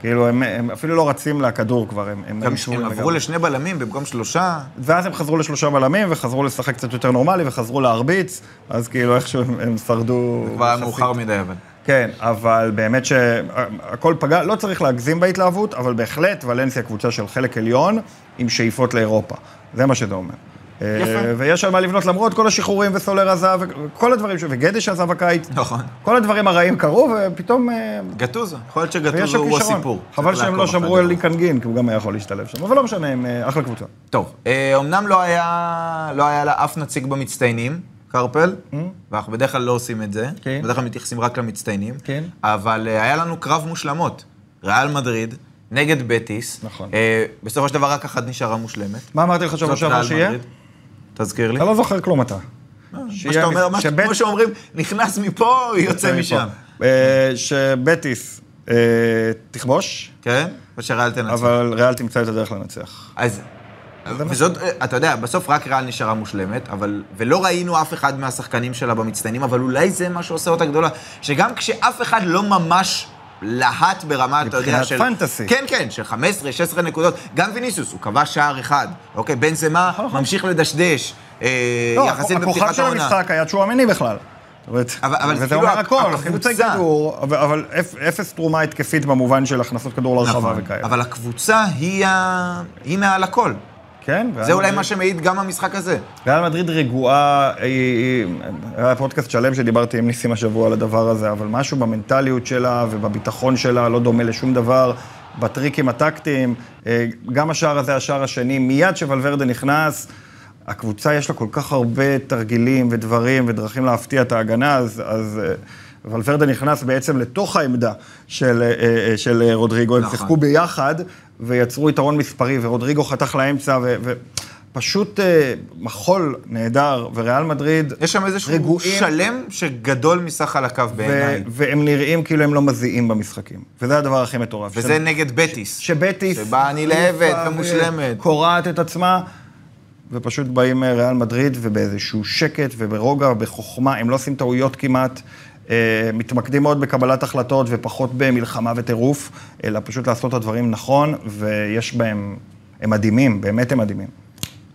[SPEAKER 1] כאילו, הם, הם אפילו לא רצים לכדור כבר, הם...
[SPEAKER 2] Mm. גם
[SPEAKER 1] נשבו
[SPEAKER 2] הם עברו
[SPEAKER 1] לגמרי.
[SPEAKER 2] לשני בלמים במקום שלושה.
[SPEAKER 1] ואז הם חזרו לשלושה בלמים, וחזרו לשחק קצת יותר נורמלי, וחזרו להרביץ, אז כאילו איכשהו הם, הם שרדו...
[SPEAKER 2] כבר היה
[SPEAKER 1] יחסית.
[SPEAKER 2] מאוחר מדי, אבל.
[SPEAKER 1] כן, אבל באמת שהכל פגע, לא צריך להגזים בהתלהבות, אבל בהחלט ולנסיה קבוצה של חלק עליון עם שאיפות לאירופה. זה מה שזה אומר.
[SPEAKER 2] יפה.
[SPEAKER 1] אה, ויש על מה לבנות למרות כל השחרורים וסולר עזב, וכל הדברים, ש- וגדי שעזב הקיץ.
[SPEAKER 2] נכון.
[SPEAKER 1] כל הדברים הרעים קרו, ופתאום... אה,
[SPEAKER 2] גטוזו, יכול להיות
[SPEAKER 1] ויש
[SPEAKER 2] שגטוזו
[SPEAKER 1] שם
[SPEAKER 2] הוא
[SPEAKER 1] כישרון.
[SPEAKER 2] הסיפור.
[SPEAKER 1] חבל
[SPEAKER 2] צריך
[SPEAKER 1] שהם לא
[SPEAKER 2] לעקוב
[SPEAKER 1] שמרו
[SPEAKER 2] אחרי
[SPEAKER 1] על
[SPEAKER 2] זה.
[SPEAKER 1] ליקנגין, כי הוא גם היה יכול להשתלב שם. אבל לא משנה, הם אה, אחלה קבוצה.
[SPEAKER 2] טוב, אה, אמנם לא היה לא היה לה אף נציג במצטיינים, קרפל, ואנחנו בדרך כלל לא עושים את זה,
[SPEAKER 1] Mm. כן.
[SPEAKER 2] בדרך כלל מתייחסים רק למצטיינים,
[SPEAKER 1] כן.
[SPEAKER 2] אבל אה, היה לנו קרב מושלמות. ריאל מדריד נגד בטיס.
[SPEAKER 1] נכון.
[SPEAKER 2] אה, בסופו של דבר רק אחת נשארה מושלמת.
[SPEAKER 1] מה אמרתי לך שבוע
[SPEAKER 2] זאת
[SPEAKER 1] שעבר
[SPEAKER 2] ריאל
[SPEAKER 1] שיהיה?
[SPEAKER 2] מדריד. תזכיר לי.
[SPEAKER 1] אתה לא זוכר כלום אתה.
[SPEAKER 2] מה שאתה אומר, מה ש- כמו שאומרים, נכנס מפה, יוצא משם.
[SPEAKER 1] אה, שבטיס אה, תכבוש.
[SPEAKER 2] כן? ושריאל תנצח.
[SPEAKER 1] אבל ריאל תמצא את הדרך לנצח.
[SPEAKER 2] אז... וזאת,
[SPEAKER 1] נכון.
[SPEAKER 2] אתה יודע, בסוף רק ריאל נשארה מושלמת, אבל, ולא ראינו אף אחד מהשחקנים שלה במצטיינים, אבל אולי זה מה שעושה אותה גדולה, שגם כשאף אחד לא ממש להט ברמה, אתה יודע,
[SPEAKER 1] מבחינת
[SPEAKER 2] של...
[SPEAKER 1] פנטסי.
[SPEAKER 2] כן, כן, של 15, 16 נקודות. גם ויניסיוס, הוא כבש שער אחד, אוקיי? בן זמה ממשיך לדשדש, אה,
[SPEAKER 1] נכון, לא,
[SPEAKER 2] יחסית
[SPEAKER 1] הכוכב
[SPEAKER 2] בפתיחת
[SPEAKER 1] של
[SPEAKER 2] העונה.
[SPEAKER 1] המשחק היה צ'ואמיני בכלל. זאת אומרת,
[SPEAKER 2] אבל- אבל
[SPEAKER 1] וזה
[SPEAKER 2] כאילו
[SPEAKER 1] אומר
[SPEAKER 2] ה-
[SPEAKER 1] הכל,
[SPEAKER 2] הקבוצה-
[SPEAKER 1] חילוצי כדור, אבל- אבל אפ- אפס תרומה התקפית במובן של הכנסת כדור לרחבה
[SPEAKER 2] נכון,
[SPEAKER 1] וכאלה.
[SPEAKER 2] אבל הקבוצה היא, ה... היא מעל הכל.
[SPEAKER 1] כן,
[SPEAKER 2] זה אולי מה שמעיד גם המשחק הזה.
[SPEAKER 1] ריאל מדריד רגועה, היא- היא- היה פודקאסט שלם שדיברתי עם ניסים השבוע על הדבר הזה, אבל משהו במנטליות שלה ובביטחון שלה לא דומה לשום דבר, בטריקים הטקטיים, אה, גם השער הזה, השער השני, מיד שוולברדה נכנס, הקבוצה יש לה כל כך הרבה תרגילים ודברים ודרכים להפתיע את ההגנה, אז... אז אה, ולוורדה נכנס בעצם לתוך העמדה של, אה, אה, של אה, רודריגו, הם
[SPEAKER 2] נכון.
[SPEAKER 1] שיחקו ביחד ויצרו יתרון מספרי, ורודריגו חתך לאמצע, ו- ופשוט אה, מחול נהדר, וריאל מדריד
[SPEAKER 2] יש שם איזשהו
[SPEAKER 1] רגועים.
[SPEAKER 2] שלם שגדול מסך חלקיו
[SPEAKER 1] ו-
[SPEAKER 2] בעיניי.
[SPEAKER 1] והם נראים כאילו הם לא מזיעים במשחקים. וזה הדבר הכי מטורף.
[SPEAKER 2] וזה
[SPEAKER 1] ש-
[SPEAKER 2] נגד בטיס.
[SPEAKER 1] שבטיס...
[SPEAKER 2] שבה נלהבת
[SPEAKER 1] החליפה
[SPEAKER 2] ומושלמת.
[SPEAKER 1] וקורעת אה, את עצמה, ופשוט באים אה, ריאל מדריד, ובאיזשהו שקט וברוגע, בחוכמה, הם לא עושים טעויות כמעט. אה, מתמקדים מאוד בקבלת החלטות ופחות במלחמה וטירוף, אלא פשוט לעשות את הדברים נכון, ויש בהם, הם מדהימים, באמת הם מדהימים.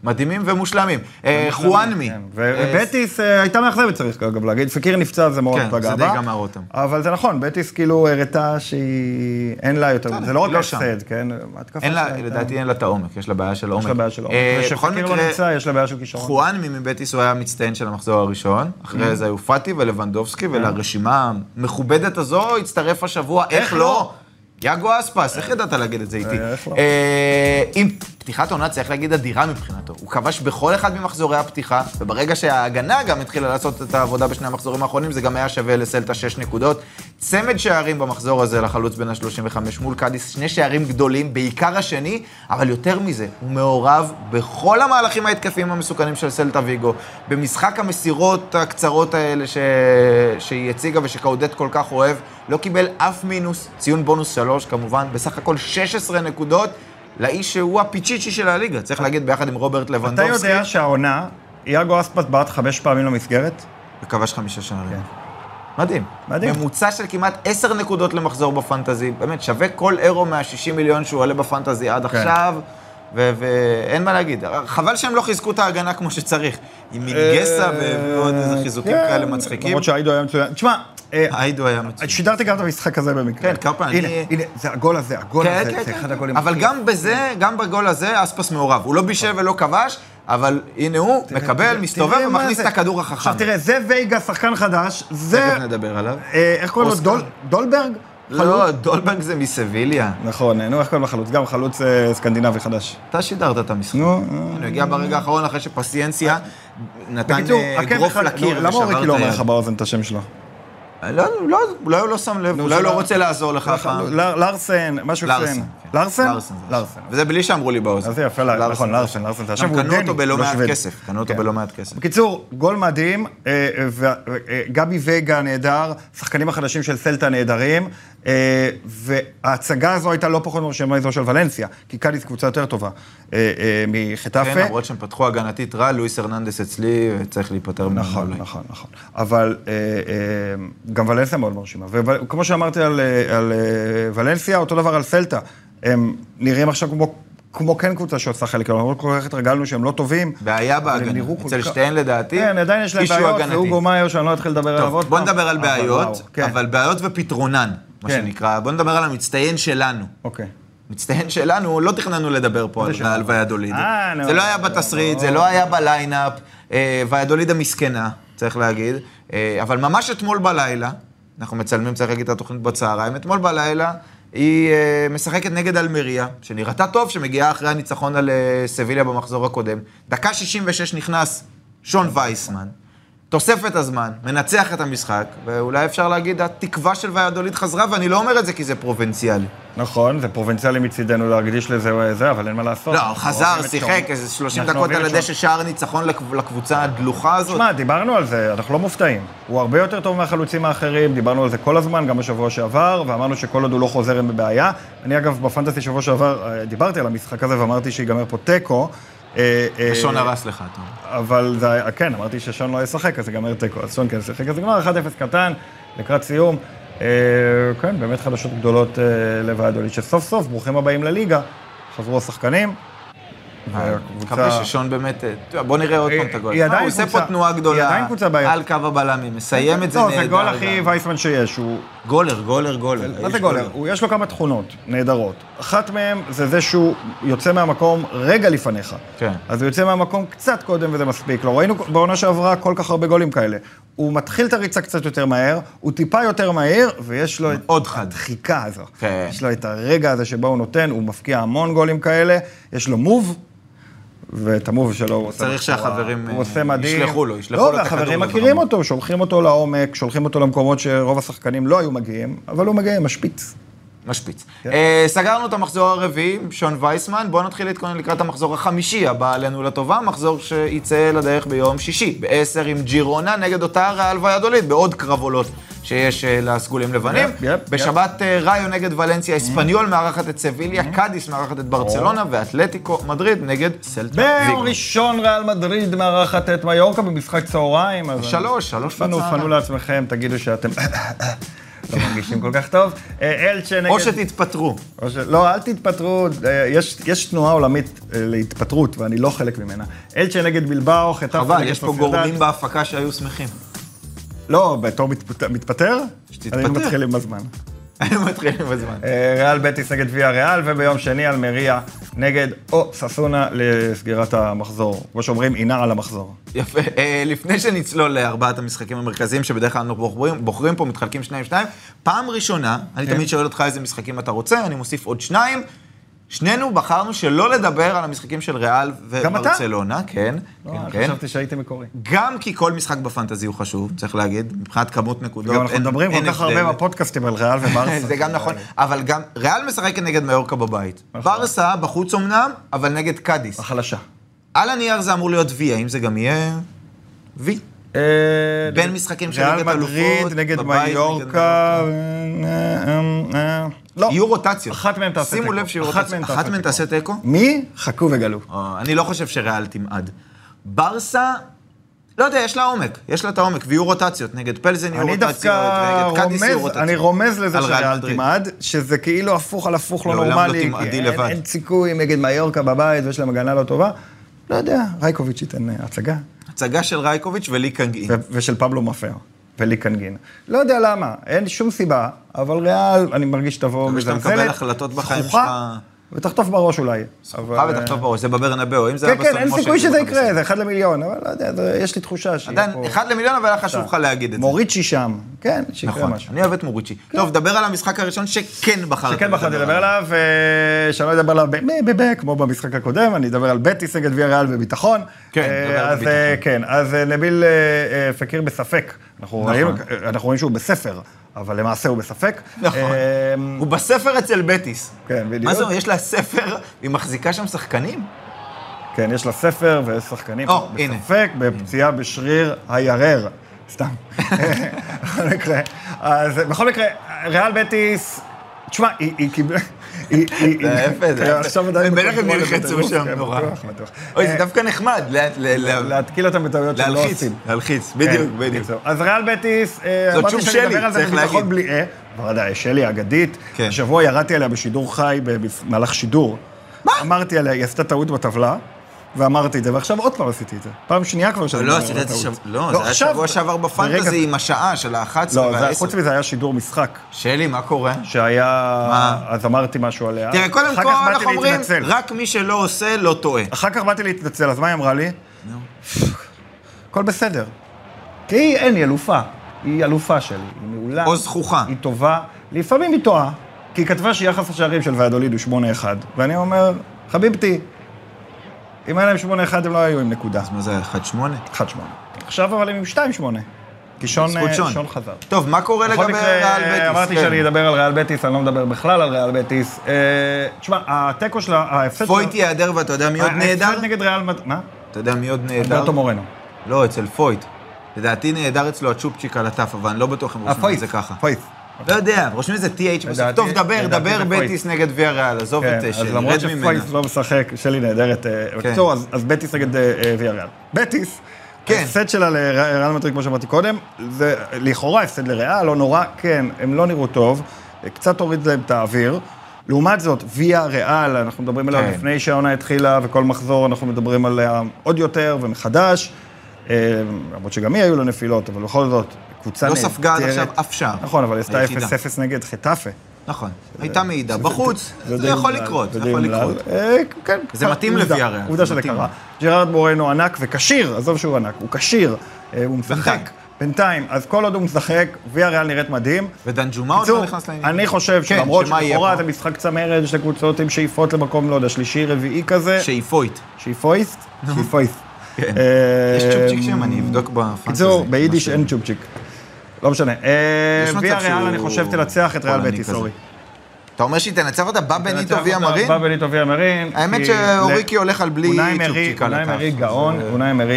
[SPEAKER 2] מדהימים ומושלמים. אה, חואנמי.
[SPEAKER 1] כן, ו-
[SPEAKER 2] אה,
[SPEAKER 1] ובטיס אה, הייתה מאכזבת, צריך אגב להגיד. פקיר נפצע, זה מאוד
[SPEAKER 2] כן,
[SPEAKER 1] פגע בה.
[SPEAKER 2] זה די גמר אותם.
[SPEAKER 1] אבל זה נכון, בטיס כאילו הראתה שהיא... אין לה יותר...
[SPEAKER 2] בסדר,
[SPEAKER 1] זה לא רק
[SPEAKER 2] היא לא שם.
[SPEAKER 1] הפסד, כן? התקפה
[SPEAKER 2] אין
[SPEAKER 1] שלה
[SPEAKER 2] לה,
[SPEAKER 1] הייתה-
[SPEAKER 2] לדעתי אין לה את העומק, יש לה בעיה של עומק.
[SPEAKER 1] יש לה בעיה של עומק.
[SPEAKER 2] אה, בכל
[SPEAKER 1] וכשפקיר לא
[SPEAKER 2] מקרה,
[SPEAKER 1] נמצא, יש לה בעיה של כישרון.
[SPEAKER 2] חואנמי מבטיס הוא היה המצטיין של המחזור הראשון, אחרי זה היו פאטי ולבנדובסקי, ולרשימה המכובדת הזו הצטרף השבוע, איך לא? יאגו אספס, איך ידעת להגיד את זה איתי?
[SPEAKER 1] איך לא?
[SPEAKER 2] אה, עם פתיחת עונה, צריך להגיד, אדירה מבחינתו. הוא כבש בכל אחד ממחזורי הפתיחה, וברגע שההגנה גם התחילה לעשות את העבודה בשני המחזורים האחרונים, זה גם היה שווה לסלטה שש נקודות. צמד שערים במחזור הזה לחלוץ בין ה-35 מול קאדיס, שני שערים גדולים, בעיקר השני, אבל יותר מזה, הוא מעורב בכל המהלכים ההתקפיים המסוכנים של סלטה ויגו, במשחק המסירות הקצרות האלה ש... שהיא הציגה ושקאודט כל כך אוהב, לא קיבל אף מינוס, ציון בונוס שלוש כמובן, בסך הכל 16 נקודות. לאיש שהוא הפיצ'יצ'י של הליגה, צריך להגיד ביחד עם רוברט
[SPEAKER 1] אתה
[SPEAKER 2] לבנדובסקי.
[SPEAKER 1] יודע שהעונה, יאגו אספס בעט חמש פעמים למסגרת?
[SPEAKER 2] וכבש חמישה שערים. מדהים.
[SPEAKER 1] כן. מדהים.
[SPEAKER 2] ממוצע של כמעט עשר נקודות למחזור בפנטזי, באמת, שווה כל אירו מה-60 מיליון שהוא עולה בפנטזי עד
[SPEAKER 1] כן.
[SPEAKER 2] עכשיו, ו- ואין מה להגיד. חבל שהם לא חיזקו את ההגנה כמו שצריך. עם מינגסה ו- אה, ועוד איזה חיזוקים
[SPEAKER 1] אה, כן,
[SPEAKER 2] כאלה מצחיקים.
[SPEAKER 1] למרות שהעידו היה מצוין. תשמע, אה,
[SPEAKER 2] היידו היה מצוין.
[SPEAKER 1] שידרתי גם את המשחק הזה במקרה.
[SPEAKER 2] כן, קרפן,
[SPEAKER 1] הנה,
[SPEAKER 2] אני-
[SPEAKER 1] הנה, זה הגול הזה, הגול
[SPEAKER 2] כן,
[SPEAKER 1] הזה,
[SPEAKER 2] כן,
[SPEAKER 1] זה
[SPEAKER 2] כן.
[SPEAKER 1] אחד הגולים.
[SPEAKER 2] אבל
[SPEAKER 1] הכי-
[SPEAKER 2] גם בזה, גם בגול הזה, אספס מעורב. הוא לא בישל ולא כבש, אבל הנה הוא, מקבל,
[SPEAKER 1] תראה,
[SPEAKER 2] מסתובב
[SPEAKER 1] תראה מה
[SPEAKER 2] ומכניס
[SPEAKER 1] זה.
[SPEAKER 2] את הכדור החכם.
[SPEAKER 1] עכשיו תראה, זה וייגה, שחקן חדש, זה...
[SPEAKER 2] תכף נדבר עליו.
[SPEAKER 1] אה, איך קוראים לו?
[SPEAKER 2] אוסקר.
[SPEAKER 1] דול- דולברג? חלוץ?
[SPEAKER 2] לא, דולבנג זה מסביליה.
[SPEAKER 1] נכון, אה, נו, איך קוראים לחלוץ? גם חלוץ אה, סקנדינבי חדש.
[SPEAKER 2] אתה שידרת את המשחק.
[SPEAKER 1] נו, אה.
[SPEAKER 2] הוא הגיע ברגע האחרון אחרי שפסיאנסיה נתן
[SPEAKER 1] בקיצור,
[SPEAKER 2] אה,
[SPEAKER 1] עקב
[SPEAKER 2] אגרוף
[SPEAKER 1] אחד-
[SPEAKER 2] לקיר
[SPEAKER 1] נו, למה
[SPEAKER 2] ושבר
[SPEAKER 1] אוריקי
[SPEAKER 2] את
[SPEAKER 1] לא אומר לך
[SPEAKER 2] היד.
[SPEAKER 1] באוזן את השם שלו?
[SPEAKER 2] לא, לא, אולי הוא לא שם לב, אולי הוא
[SPEAKER 1] שלא-
[SPEAKER 2] לא רוצה לעזור לך הפעם.
[SPEAKER 1] ל- אה, לארסן, משהו
[SPEAKER 2] לארסן.
[SPEAKER 1] כזה.
[SPEAKER 2] כן.
[SPEAKER 1] לא- לארסן?
[SPEAKER 2] לארסן. זה
[SPEAKER 1] לארסן.
[SPEAKER 2] השם. וזה בלי שאמרו לי באוזן.
[SPEAKER 1] אז זה יפה, ל-
[SPEAKER 2] לארסן,
[SPEAKER 1] נכון,
[SPEAKER 2] זה
[SPEAKER 1] לארסן,
[SPEAKER 2] השם.
[SPEAKER 1] לארסן. זה השם,
[SPEAKER 2] גם
[SPEAKER 1] הוא
[SPEAKER 2] קנו אותו
[SPEAKER 1] דני,
[SPEAKER 2] בלא
[SPEAKER 1] לא
[SPEAKER 2] מעט
[SPEAKER 1] שוודי.
[SPEAKER 2] כסף, קנו אותו
[SPEAKER 1] כן.
[SPEAKER 2] בלא מעט כסף.
[SPEAKER 1] בקיצור, גול מדהים, אה, ו- אה, גבי וייגה נהדר, השחקנים החדשים של סלטה נהדרים, אה, וההצגה הזו הייתה לא פחות מרשימה מזו של ולנסיה, כי קאליס קבוצה יותר טובה אה, אה,
[SPEAKER 2] כן,
[SPEAKER 1] מחטאפה.
[SPEAKER 2] למרות שהם פתחו הגנתית רע, לואיס הרננדס אצלי, צריך להיפטר ממנו.
[SPEAKER 1] נכון,
[SPEAKER 2] אולי.
[SPEAKER 1] נכון, נכון. אבל אה, אה, גם ולנסיה מאוד מרשימה. וכמו שאמרתי על, אה, על אה, ולנסיה, אותו דבר על סלטה. הם נראים עכשיו כמו, כמו כן קבוצה שעושה חלק, למרות כל כך התרגלנו שהם לא טובים.
[SPEAKER 2] בעיה
[SPEAKER 1] אבל הם
[SPEAKER 2] בהגנה.
[SPEAKER 1] נראו כל
[SPEAKER 2] אצל
[SPEAKER 1] כך-
[SPEAKER 2] שתיהן לדעתי,
[SPEAKER 1] כן, עדיין יש להם
[SPEAKER 2] אישו
[SPEAKER 1] בעיות,
[SPEAKER 2] הגנתי.
[SPEAKER 1] והוגו מאיו, שאני לא אתחיל לדבר עליו עוד
[SPEAKER 2] טוב,
[SPEAKER 1] פעם.
[SPEAKER 2] בוא נדבר על
[SPEAKER 1] אבל
[SPEAKER 2] בעיות,
[SPEAKER 1] וואו, כן.
[SPEAKER 2] אבל בעיות ופתרונן, מה
[SPEAKER 1] כן.
[SPEAKER 2] שנקרא. בוא נדבר על המצטיין שלנו.
[SPEAKER 1] אוקיי.
[SPEAKER 2] מצטיין שלנו, לא תכננו לדבר פה על
[SPEAKER 1] זה
[SPEAKER 2] על
[SPEAKER 1] שם.
[SPEAKER 2] ויאדוליד.
[SPEAKER 1] אה, נו.
[SPEAKER 2] זה לא היה בתסריט, זה לא היה בליינאפ. אה, ויאדוליד המסכנה, צריך להגיד. אה, אבל ממש אתמול בלילה, אנחנו מצלמים, צריך להגיד, את התוכנית בצהריים, אתמול בלילה היא אה, משחקת נגד אלמריה, שנראתה טוב, שמגיעה אחרי הניצחון על אה, סביליה במחזור הקודם. דקה 66 נכנס שון וייסמן. תוספת הזמן, מנצח את המשחק, ואולי אפשר להגיד, התקווה של ויאדוליד חזרה, ואני לא אומר את זה כי זה פרובינציאלי.
[SPEAKER 1] נכון, זה פרובינציאלי מצידנו להקדיש לזה או זה, אבל אין מה לעשות.
[SPEAKER 2] לא, הוא
[SPEAKER 1] אנחנו
[SPEAKER 2] חזר,
[SPEAKER 1] אוהבים את
[SPEAKER 2] שיחק
[SPEAKER 1] שון.
[SPEAKER 2] איזה 30
[SPEAKER 1] אנחנו
[SPEAKER 2] דקות
[SPEAKER 1] אוהבים
[SPEAKER 2] על
[SPEAKER 1] את
[SPEAKER 2] הדשא,
[SPEAKER 1] שון.
[SPEAKER 2] שער ניצחון לקב- לקבוצה הדלוחה הזאת.
[SPEAKER 1] שמע, דיברנו על זה, אנחנו לא מופתעים. הוא הרבה יותר טוב מהחלוצים האחרים, דיברנו על זה כל הזמן, גם בשבוע שעבר, ואמרנו שכל עוד הוא לא חוזר הם בבעיה. אני אגב, בפנטסי שבוע שעבר אה, דיברתי על המשחק הזה ואמרתי שיגמר פה תיקו. אה, אה,
[SPEAKER 2] ושון הרס לך, טוב.
[SPEAKER 1] אבל זה היה, כן, אמרתי ששון לא ישחק, אז ייגמר תיקו. אז שון כן ישחק, אז נגמר 1-0 קטן, לקראת סיום. אה, כן, באמת חדשות גדולות אה, לוועדוליד, שסוף סוף, ברוכים הבאים לליגה, חזרו השחקנים.
[SPEAKER 2] אה, מקווה ששון באמת... אה, טוב, בוא נראה עוד
[SPEAKER 1] היא-
[SPEAKER 2] פעם את הגול.
[SPEAKER 1] היא
[SPEAKER 2] אה,
[SPEAKER 1] עדיין
[SPEAKER 2] הוא עושה
[SPEAKER 1] קבוצה-
[SPEAKER 2] פה תנועה
[SPEAKER 1] היא
[SPEAKER 2] גדולה
[SPEAKER 1] עדיין קבוצה בעייתית.
[SPEAKER 2] על קו הבלמים, מסיים את זה
[SPEAKER 1] לא,
[SPEAKER 2] נהדר.
[SPEAKER 1] זה גול
[SPEAKER 2] גם.
[SPEAKER 1] הכי וייסמן שיש, הוא...
[SPEAKER 2] גולר, גולר, גולר.
[SPEAKER 1] מה
[SPEAKER 2] האיש
[SPEAKER 1] זה גולר? הוא- יש לו כמה תכונות נהדרות. אחת מהן זה זה שהוא יוצא מהמקום רגע לפניך.
[SPEAKER 2] כן.
[SPEAKER 1] אז הוא יוצא מהמקום קצת קודם וזה מספיק לו. ראינו בעונה שעברה כל כך הרבה גולים כאלה. הוא מתחיל את הריצה קצת יותר מהר, הוא טיפה יותר מהיר, ויש לו את
[SPEAKER 2] עוד חד.
[SPEAKER 1] הדחיקה הזו.
[SPEAKER 2] כן.
[SPEAKER 1] יש לו את הרגע הזה שבו הוא נותן, הוא מפקיע המון גולים כאלה, יש לו מוב. ואת המוב שלו הוא עושה
[SPEAKER 2] צריך
[SPEAKER 1] בצורה-
[SPEAKER 2] שהחברים,
[SPEAKER 1] הוא עושה
[SPEAKER 2] אה,
[SPEAKER 1] מדהים.
[SPEAKER 2] ישלחו לו, ישלחו לו
[SPEAKER 1] לא,
[SPEAKER 2] את הכדור
[SPEAKER 1] והחברים
[SPEAKER 2] הזה
[SPEAKER 1] מכירים
[SPEAKER 2] ברמות.
[SPEAKER 1] אותו, שולחים אותו לעומק, שולחים אותו למקומות שרוב השחקנים לא היו מגיעים, אבל הוא מגיע עם משפיץ.
[SPEAKER 2] משפיץ.
[SPEAKER 1] כן.
[SPEAKER 2] אה, סגרנו את המחזור הרביעי, שון וייסמן, בואו נתחיל להתכונן לקראת המחזור החמישי הבא עלינו לטובה, מחזור שיצא לדרך ביום שישי, ב-10 עם ג'ירונה נגד אותה ריאל ויאדוליד, בעוד קרב עולות שיש אה, לסגולים לבנים.
[SPEAKER 1] יפ, יפ, Mm.
[SPEAKER 2] בשבת אה, ראיו נגד ולנסיה, אספניול מארחת את סביליה, קאדיס מארחת את ברצלונה, ואתלטיקו מדריד נגד סלטה
[SPEAKER 1] Oh. ביום
[SPEAKER 2] ויגו.
[SPEAKER 1] ראשון ריאל מדריד מארחת את מיורקה במשחק צהריים. אז
[SPEAKER 2] שלוש, שלוש
[SPEAKER 1] פנו,
[SPEAKER 2] בצהריים.
[SPEAKER 1] פנו לעצמכם, תגידו שאתם... לא מרגישים כל כך טוב. אה, אלצ'ה נגד...
[SPEAKER 2] או שתתפטרו.
[SPEAKER 1] או ש... לא, אל תתפטרו, אה, יש, יש תנועה עולמית אה, להתפטרות, ואני לא חלק ממנה. אלצ'ה נגד בלבאו, חטף
[SPEAKER 2] חבל,
[SPEAKER 1] נגד
[SPEAKER 2] יש פה
[SPEAKER 1] סוסיידד.
[SPEAKER 2] גורמים בהפקה שהיו שמחים.
[SPEAKER 1] לא, בתור מתפט... מתפטר?
[SPEAKER 2] שתתפטר.
[SPEAKER 1] אני מתחיל עם הזמן.
[SPEAKER 2] הם מתחילים בזמן.
[SPEAKER 1] אה, ריאל בטיס נגד ויה ריאל, וביום שני אלמריה נגד או ססונה לסגירת המחזור. כמו שאומרים, עינה על המחזור.
[SPEAKER 2] יפה. אה, לפני שנצלול לארבעת המשחקים המרכזיים, שבדרך כלל אנחנו בוחרים, בוחרים פה, מתחלקים שניים-שניים, פעם ראשונה, אני
[SPEAKER 1] כן.
[SPEAKER 2] תמיד שואל אותך איזה משחקים אתה רוצה, אני מוסיף עוד שניים. שנינו בחרנו שלא לדבר על המשחקים של ריאל
[SPEAKER 1] גם אתה?
[SPEAKER 2] וברצלונה, כן,
[SPEAKER 1] לא,
[SPEAKER 2] כן,
[SPEAKER 1] אני
[SPEAKER 2] כן.
[SPEAKER 1] חשבתי שהייתי מקורי.
[SPEAKER 2] גם כי כל משחק בפנטזי הוא חשוב, צריך להגיד, מבחינת כמות נקודות.
[SPEAKER 1] גם אנחנו
[SPEAKER 2] לא, אין-
[SPEAKER 1] מדברים כל
[SPEAKER 2] אין
[SPEAKER 1] כך הרבה
[SPEAKER 2] הבדל.
[SPEAKER 1] בפודקאסטים על ריאל וברסה.
[SPEAKER 2] זה גם נכון, אבל גם ריאל משחקת נגד מיורקה בבית.
[SPEAKER 1] נכון.
[SPEAKER 2] ברסה בחוץ אמנם, אבל נגד קאדיס.
[SPEAKER 1] החלשה.
[SPEAKER 2] על הנייר זה אמור להיות וי, האם זה גם יהיה וי?
[SPEAKER 1] אה,
[SPEAKER 2] בין משחקים של ליגת
[SPEAKER 1] ריאל מדריד
[SPEAKER 2] אלופות,
[SPEAKER 1] נגד
[SPEAKER 2] בבית, נגד
[SPEAKER 1] מיורקה. אה, אה, אה, לא.
[SPEAKER 2] יהיו רוטציות.
[SPEAKER 1] אחת מהן תעשה
[SPEAKER 2] שימו
[SPEAKER 1] תיקו.
[SPEAKER 2] לב שיהיו
[SPEAKER 1] אחת מהן
[SPEAKER 2] רוטציות.
[SPEAKER 1] תעשה
[SPEAKER 2] אחת מהן
[SPEAKER 1] תיקו.
[SPEAKER 2] תעשה תיקו?
[SPEAKER 1] מי? חכו וגלו.
[SPEAKER 2] אה, אני לא חושב שריאל תמעד. ברסה, לא יודע, יש לה עומק. יש לה את העומק, ויהיו רוטציות. נגד פלזן יהיו
[SPEAKER 1] אני
[SPEAKER 2] רוטציות,
[SPEAKER 1] דווקא
[SPEAKER 2] נגד קאדיס יהיו
[SPEAKER 1] רומז,
[SPEAKER 2] רוטציות.
[SPEAKER 1] אני רומז לזה
[SPEAKER 2] על ריאל
[SPEAKER 1] שריאל
[SPEAKER 2] מדריד.
[SPEAKER 1] תמעד, שזה כאילו הפוך על הפוך לא
[SPEAKER 2] לעולם לא
[SPEAKER 1] נורמלי.
[SPEAKER 2] תמעדי
[SPEAKER 1] כי אין-
[SPEAKER 2] לבד.
[SPEAKER 1] אין סיכוי נגד מיורקה בבית ויש להם הגנה לא טובה. לא יודע, רייקוביץ' ייתן אה, הצגה.
[SPEAKER 2] הצגה של רייקוביץ' ולי קנג אין.
[SPEAKER 1] ו- ושל פבלו מפר ולי קנגין. לא יודע למה, אין שום סיבה, אבל ריאל, אני מרגיש שתבוא
[SPEAKER 2] מקווה שאתה
[SPEAKER 1] מזלזלת.
[SPEAKER 2] מקבל החלטות בחיים
[SPEAKER 1] זחוחה, ותחטוף בראש אולי.
[SPEAKER 2] אה,
[SPEAKER 1] אבל,
[SPEAKER 2] ותחטוף בראש, זה בברנבאו, אם זה היה
[SPEAKER 1] כן,
[SPEAKER 2] בסוף
[SPEAKER 1] כן, אין
[SPEAKER 2] משה
[SPEAKER 1] סיכוי
[SPEAKER 2] יגידו
[SPEAKER 1] שזה
[SPEAKER 2] לך בסדר.
[SPEAKER 1] יקרה, זה אחד למיליון, אבל לא יודע, זה- יש לי תחושה שיהיה פה...
[SPEAKER 2] עדיין, אחד למיליון, אבל היה חשוב לך להגיד את זה.
[SPEAKER 1] מוריצ'י שם, כן, שיקרה
[SPEAKER 2] נכון,
[SPEAKER 1] משהו. כן.
[SPEAKER 2] אני אוהב את מוריצ'י. טוב, דבר על המשחק הראשון שכן בחרת.
[SPEAKER 1] שכן בחרתי
[SPEAKER 2] לדבר
[SPEAKER 1] לדבר עליו, אה, שאני לא אדבר עליו ב- ב- ב- כמו במשחק הקודם, אני אדבר על בטיס נגד ויה ריאל בביטחון.
[SPEAKER 2] כן,
[SPEAKER 1] אה,
[SPEAKER 2] נדבר
[SPEAKER 1] אז,
[SPEAKER 2] בביטחון.
[SPEAKER 1] אה, כן, אז אה, נביל אה, אה, פקיר בספק. אנחנו
[SPEAKER 2] נכון.
[SPEAKER 1] ראינו- אה, אנחנו רואים שהוא בספר, אבל למעשה הוא בספק.
[SPEAKER 2] נכון.
[SPEAKER 1] אה,
[SPEAKER 2] הוא בספר אצל בטיס.
[SPEAKER 1] כן, בדיוק.
[SPEAKER 2] מה זה, יש לה ספר, היא מחזיקה שם שחקנים?
[SPEAKER 1] כן, יש לה ספר ויש שחקנים
[SPEAKER 2] או, הנה.
[SPEAKER 1] בספק, בפציעה בשריר הירר. סתם. בכל מקרה, אז בכל מקרה, ריאל בטיס, תשמע, היא היא קיבלה... היא- היא-
[SPEAKER 2] זה
[SPEAKER 1] היא-
[SPEAKER 2] יפה, זה
[SPEAKER 1] כן,
[SPEAKER 2] יפה.
[SPEAKER 1] עכשיו עדיין...
[SPEAKER 2] הם בטח
[SPEAKER 1] בקונטרול
[SPEAKER 2] נלחצו
[SPEAKER 1] בטירוף,
[SPEAKER 2] שם
[SPEAKER 1] כן,
[SPEAKER 2] נורא.
[SPEAKER 1] בטוח, בטוח.
[SPEAKER 2] אוי, זה
[SPEAKER 1] אה,
[SPEAKER 2] דווקא נחמד, לה- ל- ל-
[SPEAKER 1] להתקיל אותם בטעויות שהם לא
[SPEAKER 2] להלחיץ,
[SPEAKER 1] עושים.
[SPEAKER 2] להלחיץ, בדיוק,
[SPEAKER 1] כן,
[SPEAKER 2] בדיוק.
[SPEAKER 1] בקיצור. אז ריאל בטיס, אה,
[SPEAKER 2] זאת
[SPEAKER 1] אמרתי
[SPEAKER 2] שוב
[SPEAKER 1] שאני
[SPEAKER 2] שלי,
[SPEAKER 1] אדבר על זה
[SPEAKER 2] צריך
[SPEAKER 1] בביטחון
[SPEAKER 2] להגיד.
[SPEAKER 1] בלי אה. בוודאי, שלי האגדית.
[SPEAKER 2] כן.
[SPEAKER 1] השבוע ירדתי עליה בשידור חי במהלך שידור. מה? אמרתי עליה, היא עשתה טעות בטבלה, ואמרתי את זה, ועכשיו עוד פעם עשיתי את זה. פעם שנייה כבר שאני
[SPEAKER 2] לא,
[SPEAKER 1] אומר
[SPEAKER 2] עשית
[SPEAKER 1] על
[SPEAKER 2] את זה
[SPEAKER 1] הטעות.
[SPEAKER 2] שבוע, לא, זה היה
[SPEAKER 1] עכשיו,
[SPEAKER 2] שבוע שעבר
[SPEAKER 1] ברגע-
[SPEAKER 2] בפנטזי עם השעה של ה-11
[SPEAKER 1] לא, זה היה-
[SPEAKER 2] וה-10.
[SPEAKER 1] חוץ מזה היה שידור משחק,
[SPEAKER 2] שלי, מה קורה?
[SPEAKER 1] שהיה...
[SPEAKER 2] מה?
[SPEAKER 1] אז אמרתי משהו עליה.
[SPEAKER 2] תראה, קודם
[SPEAKER 1] אחר
[SPEAKER 2] כל,
[SPEAKER 1] כך באתי
[SPEAKER 2] אנחנו אומרים,
[SPEAKER 1] להתנצל.
[SPEAKER 2] רק מי שלא עושה, לא טועה.
[SPEAKER 1] אחר כך באתי להתנצל, אז מה היא אמרה לי? הכל בסדר. כי היא, אין, היא אלופה. היא אלופה שלי, היא מעולה.
[SPEAKER 2] או זכוכה.
[SPEAKER 1] היא טובה. לפעמים היא טועה, כי היא כתבה שיחס השערים של ועדוליד הוא 8-1, ואני אומר, חביבתי, אם היה להם 8-1 הם לא היו עם נקודה.
[SPEAKER 2] אז מה זה, 1-8?
[SPEAKER 1] 1-8. עכשיו אבל הם עם 2-8. כי שון
[SPEAKER 2] בזכות
[SPEAKER 1] אה,
[SPEAKER 2] שון.
[SPEAKER 1] שון חזר.
[SPEAKER 2] טוב, מה קורה
[SPEAKER 1] בכל
[SPEAKER 2] לגבי
[SPEAKER 1] מקרה, אה,
[SPEAKER 2] ריאל בטיס?
[SPEAKER 1] אמרתי
[SPEAKER 2] כן.
[SPEAKER 1] שאני אדבר על ריאל בטיס, אני לא מדבר בכלל על ריאל בטיס. אה, תשמע, התיקו שלה, ההפסד שלה...
[SPEAKER 2] פויט ייעדר ואתה יודע
[SPEAKER 1] אה,
[SPEAKER 2] מי עוד נהדר?
[SPEAKER 1] ההפסד נגד ריאל... מד- מה?
[SPEAKER 2] אתה יודע מי עוד נהדר?
[SPEAKER 1] ברטו מורנו.
[SPEAKER 2] לא, אצל פויט. לדעתי נהדר אצלו הצ'ופצ'יק על הטף, אבל אני לא בטוח
[SPEAKER 1] אה,
[SPEAKER 2] אם רושמים את זה ככה.
[SPEAKER 1] פויט.
[SPEAKER 2] לא יודע, רושמים את זה TH בסוף.
[SPEAKER 1] לדעתי-
[SPEAKER 2] טוב, דבר,
[SPEAKER 1] לדעתי
[SPEAKER 2] דבר
[SPEAKER 1] זה פויט.
[SPEAKER 2] בטיס נגד ויה ריאל, עזוב
[SPEAKER 1] כן,
[SPEAKER 2] את
[SPEAKER 1] אז
[SPEAKER 2] אשל,
[SPEAKER 1] למרות
[SPEAKER 2] רד אה, ממנה.
[SPEAKER 1] שפויט לא משחק, שלי נהדרת. אה, בקיצור, אז- אז בטיס נגד אה, אה, ויאריאל. בטיס,
[SPEAKER 2] כן.
[SPEAKER 1] ההפסד שלה לריאל מדריד, כמו שאמרתי קודם, זה לכאורה הפסד לריאל, לא נורא, כן, הם לא נראו טוב, אה, קצת הוריד להם את האוויר. לעומת זאת, ויה ריאל, אנחנו מדברים עליה
[SPEAKER 2] כן.
[SPEAKER 1] לפני שהעונה התחילה, וכל מחזור אנחנו מדברים עליה עוד יותר ומחדש. אה, למרות שגם היא היו לה נפילות, אבל בכל זאת, קבוצה
[SPEAKER 2] לא
[SPEAKER 1] נהדרת.
[SPEAKER 2] ספגה עד עכשיו אף שער.
[SPEAKER 1] נכון, אבל היא עשתה
[SPEAKER 2] היחידה.
[SPEAKER 1] 0-0 נגד חטאפה.
[SPEAKER 2] נכון, הייתה מעידה. בחוץ, זה
[SPEAKER 1] די
[SPEAKER 2] יכול
[SPEAKER 1] אומלל,
[SPEAKER 2] לקרות, זה
[SPEAKER 1] די
[SPEAKER 2] יכול
[SPEAKER 1] אומלל.
[SPEAKER 2] לקרות.
[SPEAKER 1] אה, כן.
[SPEAKER 2] זה
[SPEAKER 1] קרה,
[SPEAKER 2] מתאים
[SPEAKER 1] עובדה,
[SPEAKER 2] לוויאריאל,
[SPEAKER 1] עובדה
[SPEAKER 2] זה
[SPEAKER 1] שזה
[SPEAKER 2] מתאים.
[SPEAKER 1] קרה. ג'רארד מורנו ענק וכשיר, עזוב שהוא ענק, הוא כשיר, אה, הוא משחק.
[SPEAKER 2] בינתיים.
[SPEAKER 1] בינתיים, אז כל עוד הוא משחק, ויאריאל נראית מדהים.
[SPEAKER 2] ודנג'ומה עוד
[SPEAKER 1] בקיצור,
[SPEAKER 2] לא נכנס לעניין.
[SPEAKER 1] אני חושב
[SPEAKER 2] כן,
[SPEAKER 1] שלמרות
[SPEAKER 2] שמה יהיה
[SPEAKER 1] שלכאורה
[SPEAKER 2] פה?
[SPEAKER 1] זה משחק צמרת, יש לקבוצות עם שאיפות למקום, לא יודע, שלישי, רביעי כזה.
[SPEAKER 2] שאיפוית.
[SPEAKER 1] שאיפויסט? שאיפויסט.
[SPEAKER 2] כן.
[SPEAKER 1] אה,
[SPEAKER 2] יש צ'ופצ'יק שם, אני אבדוק בפאנטזי.
[SPEAKER 1] קיצור, ביידיש אין צ'ופצ'יק. לא משנה. אה,
[SPEAKER 2] יש מצב
[SPEAKER 1] ויה ריאל,
[SPEAKER 2] שהוא-
[SPEAKER 1] אני חושב, תנצח את ריאל
[SPEAKER 2] פולני
[SPEAKER 1] בטיס,
[SPEAKER 2] כזה.
[SPEAKER 1] אורי.
[SPEAKER 2] אתה אומר שהיא תנצח אותה בבניטו
[SPEAKER 1] תנצח
[SPEAKER 2] ויה
[SPEAKER 1] אותה,
[SPEAKER 2] מרין?
[SPEAKER 1] בא בניטו ויה מרין.
[SPEAKER 2] האמת
[SPEAKER 1] כי
[SPEAKER 2] שאוריקי הולך על בלי
[SPEAKER 1] אונאי מרי-
[SPEAKER 2] צ'ופצ'יק על
[SPEAKER 1] אונאי
[SPEAKER 2] הכף,
[SPEAKER 1] מרי
[SPEAKER 2] אז,
[SPEAKER 1] גאון,
[SPEAKER 2] אה,
[SPEAKER 1] אונאי מרי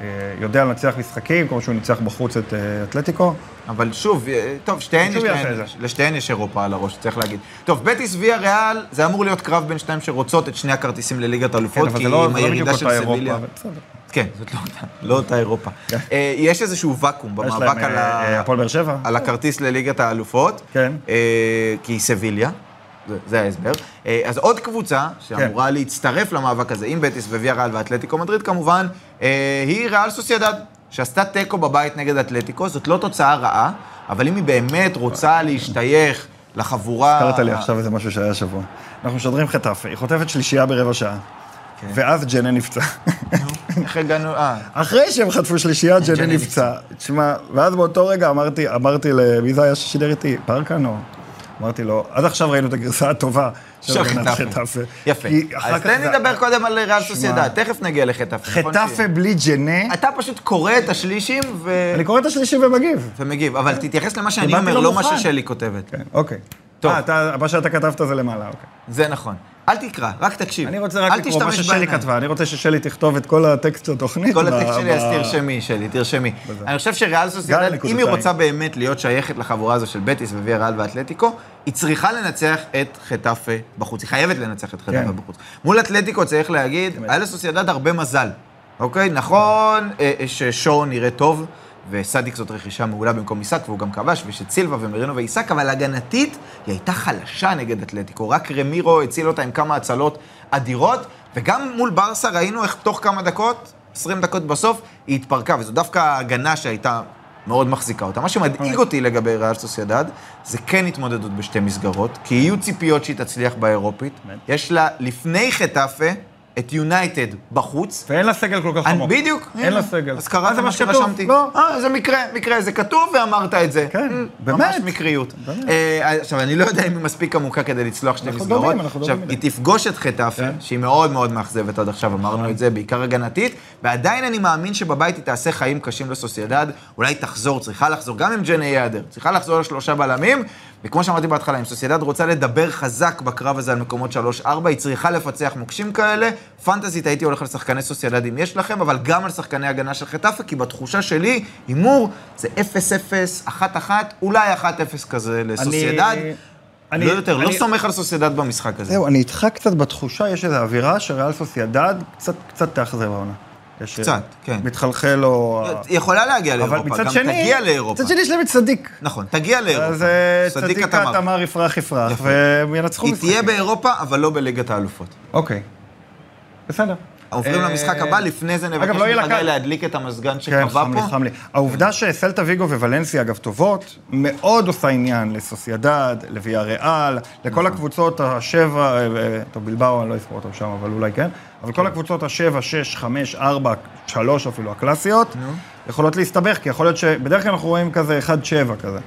[SPEAKER 1] אה, יודע לנצח משחקים, כמו שהוא ניצח בחוץ את אה, אתלטיקו.
[SPEAKER 2] כן, אבל שוב, אה, טוב, שתיהן יש
[SPEAKER 1] שוב יעשה
[SPEAKER 2] להן,
[SPEAKER 1] את זה.
[SPEAKER 2] לשתיהן יש אירופה על הראש, צריך להגיד. טוב, בטיס ויה ריאל, זה אמור להיות קרב בין שתיים שרוצות את שני הכרטיסים לליגת
[SPEAKER 1] כן,
[SPEAKER 2] האלופות,
[SPEAKER 1] אבל
[SPEAKER 2] כי
[SPEAKER 1] זה לא
[SPEAKER 2] עם
[SPEAKER 1] זה לא בדיוק
[SPEAKER 2] הירידה
[SPEAKER 1] אותה
[SPEAKER 2] של
[SPEAKER 1] אירופה,
[SPEAKER 2] סביליה...
[SPEAKER 1] אבל בסדר.
[SPEAKER 2] כן, זאת לא אותה- לא אותה אירופה. אה, יש איזשהו ואקום
[SPEAKER 1] יש
[SPEAKER 2] במאבק
[SPEAKER 1] להם
[SPEAKER 2] על
[SPEAKER 1] אה,
[SPEAKER 2] ה-
[SPEAKER 1] אה, הפועל באר שבע.
[SPEAKER 2] על הכרטיס לליגת האלופות.
[SPEAKER 1] כן.
[SPEAKER 2] אה, כי היא סביליה. זה- זה ההסבר. אה, אז עוד קבוצה
[SPEAKER 1] כן.
[SPEAKER 2] שאמורה להצטרף למאבק הזה עם בטיס וויה ריאל ואתלטיקו מדריד כמובן, אה, היא ריאל סוסיידד, שעשתה תיקו בבית נגד אתלטיקו, זאת לא תוצאה רעה, אבל אם היא באמת רוצה להשתייך לחבורה...
[SPEAKER 1] קראת לי עכשיו איזה משהו שהיה השבוע. אנחנו משדרים חטאפה, היא חוטפת שלישייה ברבע שעה.
[SPEAKER 2] כן.
[SPEAKER 1] ואז ג'נה נפצע.
[SPEAKER 2] איך הגענו... אה,
[SPEAKER 1] אחרי שהם חטפו שלישייה, ג'נה
[SPEAKER 2] ג'נה
[SPEAKER 1] נפצע. תשמע, ואז באותו רגע אמרתי, אמרתי ל... מי זה היה ששידר איתי? פרקן או? אמרתי לו, עד עכשיו ראינו את הגרסה הטובה של
[SPEAKER 2] של
[SPEAKER 1] הגנת
[SPEAKER 2] חטאפה.
[SPEAKER 1] חטאפה.
[SPEAKER 2] יפה.
[SPEAKER 1] כי אחר
[SPEAKER 2] אז
[SPEAKER 1] כך
[SPEAKER 2] תן לי
[SPEAKER 1] זה-
[SPEAKER 2] לדבר קודם על ריאל
[SPEAKER 1] שמע.
[SPEAKER 2] סוסיידד, תכף נגיע לחטאפה. נכון
[SPEAKER 1] חטאפה
[SPEAKER 2] שיהיה?
[SPEAKER 1] בלי ג'נה,
[SPEAKER 2] אתה פשוט קורא את השלישים ו...
[SPEAKER 1] אני קורא את השלישי ומגיב.
[SPEAKER 2] ומגיב, אבל תתייחס למה שאני
[SPEAKER 1] באתי
[SPEAKER 2] אומר,
[SPEAKER 1] לא
[SPEAKER 2] לא מה
[SPEAKER 1] מוכן.
[SPEAKER 2] ששלי כותבת.
[SPEAKER 1] כן, אוקיי.
[SPEAKER 2] טוב.
[SPEAKER 1] אה, אתה- מה שאתה כתבת זה למעלה, אוקיי.
[SPEAKER 2] זה נכון. אל תקרא, רק תקשיב.
[SPEAKER 1] אני רוצה רק
[SPEAKER 2] אל
[SPEAKER 1] לקרוא מה
[SPEAKER 2] תשתמש
[SPEAKER 1] ששלי
[SPEAKER 2] בעיניים.
[SPEAKER 1] כתבה, אני רוצה ששלי תכתוב את כל הטקסט של התוכנית.
[SPEAKER 2] כל
[SPEAKER 1] ב-
[SPEAKER 2] הטקסט שלי, אז
[SPEAKER 1] ב-
[SPEAKER 2] תרשמי, שלי, תרשמי. אני חושב שריאל
[SPEAKER 1] גל
[SPEAKER 2] סוסיאדד, אם
[SPEAKER 1] נקודתיים.
[SPEAKER 2] היא רוצה באמת להיות שייכת לחבורה הזו של בטיס וויה ריאל ואתלטיקו, היא צריכה לנצח את חטאפה בחוץ. היא חייבת לנצח את חטאפה
[SPEAKER 1] כן.
[SPEAKER 2] בחוץ. מול אתלטיקו צריך להגיד, היה לסוסיאדד הרבה מזל. אוקיי, נכון אה, אה, ששואו נראה טוב, וסדיק זאת רכישה מעולה במקום עיסק, והוא גם כבש, ושצילבה ומרינו ועיסק, אבל הגנתית היא הייתה חלשה נגד אתלטיקו. רק רמירו הציל אותה עם כמה הצלות אדירות, וגם מול ברסה ראינו איך תוך כמה דקות, 20 דקות בסוף, היא התפרקה, וזו דווקא ההגנה שהייתה מאוד מחזיקה אותה. מה
[SPEAKER 1] אוקיי.
[SPEAKER 2] שמדאיג אותי לגבי ריאל סוסיידד, זה כן התמודדות בשתי מסגרות, כי יהיו ציפיות שהיא תצליח באירופית.
[SPEAKER 1] אמן.
[SPEAKER 2] יש לה לפני חטאפה את יונייטד בחוץ,
[SPEAKER 1] ואין לה סגל כל כך
[SPEAKER 2] אני-
[SPEAKER 1] לא חמור.
[SPEAKER 2] בדיוק.
[SPEAKER 1] אין
[SPEAKER 2] הנה.
[SPEAKER 1] לה סגל.
[SPEAKER 2] אז
[SPEAKER 1] אה,
[SPEAKER 2] קראת
[SPEAKER 1] זה
[SPEAKER 2] מה
[SPEAKER 1] מה שכתוב.
[SPEAKER 2] שרשמתי.
[SPEAKER 1] לא.
[SPEAKER 2] אה, זה מקרה, מקרה, זה כתוב ואמרת את זה.
[SPEAKER 1] כן,
[SPEAKER 2] אמ,
[SPEAKER 1] באמת.
[SPEAKER 2] ממש מקריות.
[SPEAKER 1] באמת.
[SPEAKER 2] אה, עכשיו, אני לא יודע אם היא מספיק עמוקה כדי לצלוח שתי
[SPEAKER 1] אנחנו
[SPEAKER 2] מסגרות.
[SPEAKER 1] דומים, אנחנו
[SPEAKER 2] עכשיו,
[SPEAKER 1] דומים
[SPEAKER 2] היא תפגוש את חטאפה,
[SPEAKER 1] כן. נכון.
[SPEAKER 2] שהיא מאוד מאוד מאכזבת עד עכשיו, אמרנו את זה, בעיקר הגנתית, ועדיין אני מאמין שבבית היא תעשה חיים קשים לסוסיידד, אולי תחזור, צריכה לחזור, גם עם ג'ני יעדר, צריכה לחזור לשלושה בלמים, וכמו שאמרתי בהתחלה, אם סוסיידד רוצה לדבר חזק בקרב הזה על מקומות 3-4, היא צריכה לפצח מוקשים כאלה. פנטזית הייתי הולך על שחקני סוסיידד אם יש לכם, אבל גם על שחקני הגנה של חטאפה, כי בתחושה שלי, הימור זה 0-0, 1-1, אולי 1-0 כזה לסוסיידד.
[SPEAKER 1] אני-
[SPEAKER 2] לא יותר, לא
[SPEAKER 1] אני-
[SPEAKER 2] סומך על סוסיידד במשחק הזה.
[SPEAKER 1] זהו, אני איתך קצת בתחושה, יש איזו אווירה שריאל סוסיידד קצת, קצת תאכזב העונה. יש- אה,
[SPEAKER 2] קצת, כן.
[SPEAKER 1] מתחלחל או...
[SPEAKER 2] היא יכולה להגיע
[SPEAKER 1] אבל
[SPEAKER 2] לאירופה,
[SPEAKER 1] מצד
[SPEAKER 2] גם
[SPEAKER 1] שני...
[SPEAKER 2] תגיע לאירופה.
[SPEAKER 1] מצד שני יש להם את צדיק.
[SPEAKER 2] נכון, תגיע לאירופה.
[SPEAKER 1] אז אה,
[SPEAKER 2] צדיק
[SPEAKER 1] צדיקה
[SPEAKER 2] התמר.
[SPEAKER 1] תמר יפרח יפרח,
[SPEAKER 2] יפה.
[SPEAKER 1] והם ינצחו
[SPEAKER 2] היא
[SPEAKER 1] משחקים.
[SPEAKER 2] תהיה באירופה, אבל לא בליגת האלופות.
[SPEAKER 1] אוקיי. בסדר.
[SPEAKER 2] עוברים
[SPEAKER 1] אה,
[SPEAKER 2] למשחק הבא, לפני זה נבקש
[SPEAKER 1] אגב, לא יהיה לה
[SPEAKER 2] מחגי
[SPEAKER 1] קל.
[SPEAKER 2] להדליק את המזגן
[SPEAKER 1] כן,
[SPEAKER 2] שקבע
[SPEAKER 1] חם לי,
[SPEAKER 2] פה. כן.
[SPEAKER 1] חם לי. העובדה שסלטה ויגו ווולנסיה, אגב, טובות, מאוד עושה עניין לסוסיידד, לוויה ריאל,
[SPEAKER 2] נכון.
[SPEAKER 1] לכל הקבוצות השבע, אה, אה, טוב, בלבאו, אני לא אזכור אותם שם, אבל אולי כן, אבל כל הקבוצות השבע, שש, חמש, ארבע, שלוש אפילו, הקלאסיות, יכולות להסתבך, כי יכול להיות ש... בדרך כלל אנחנו רואים כזה 1-7 כזה.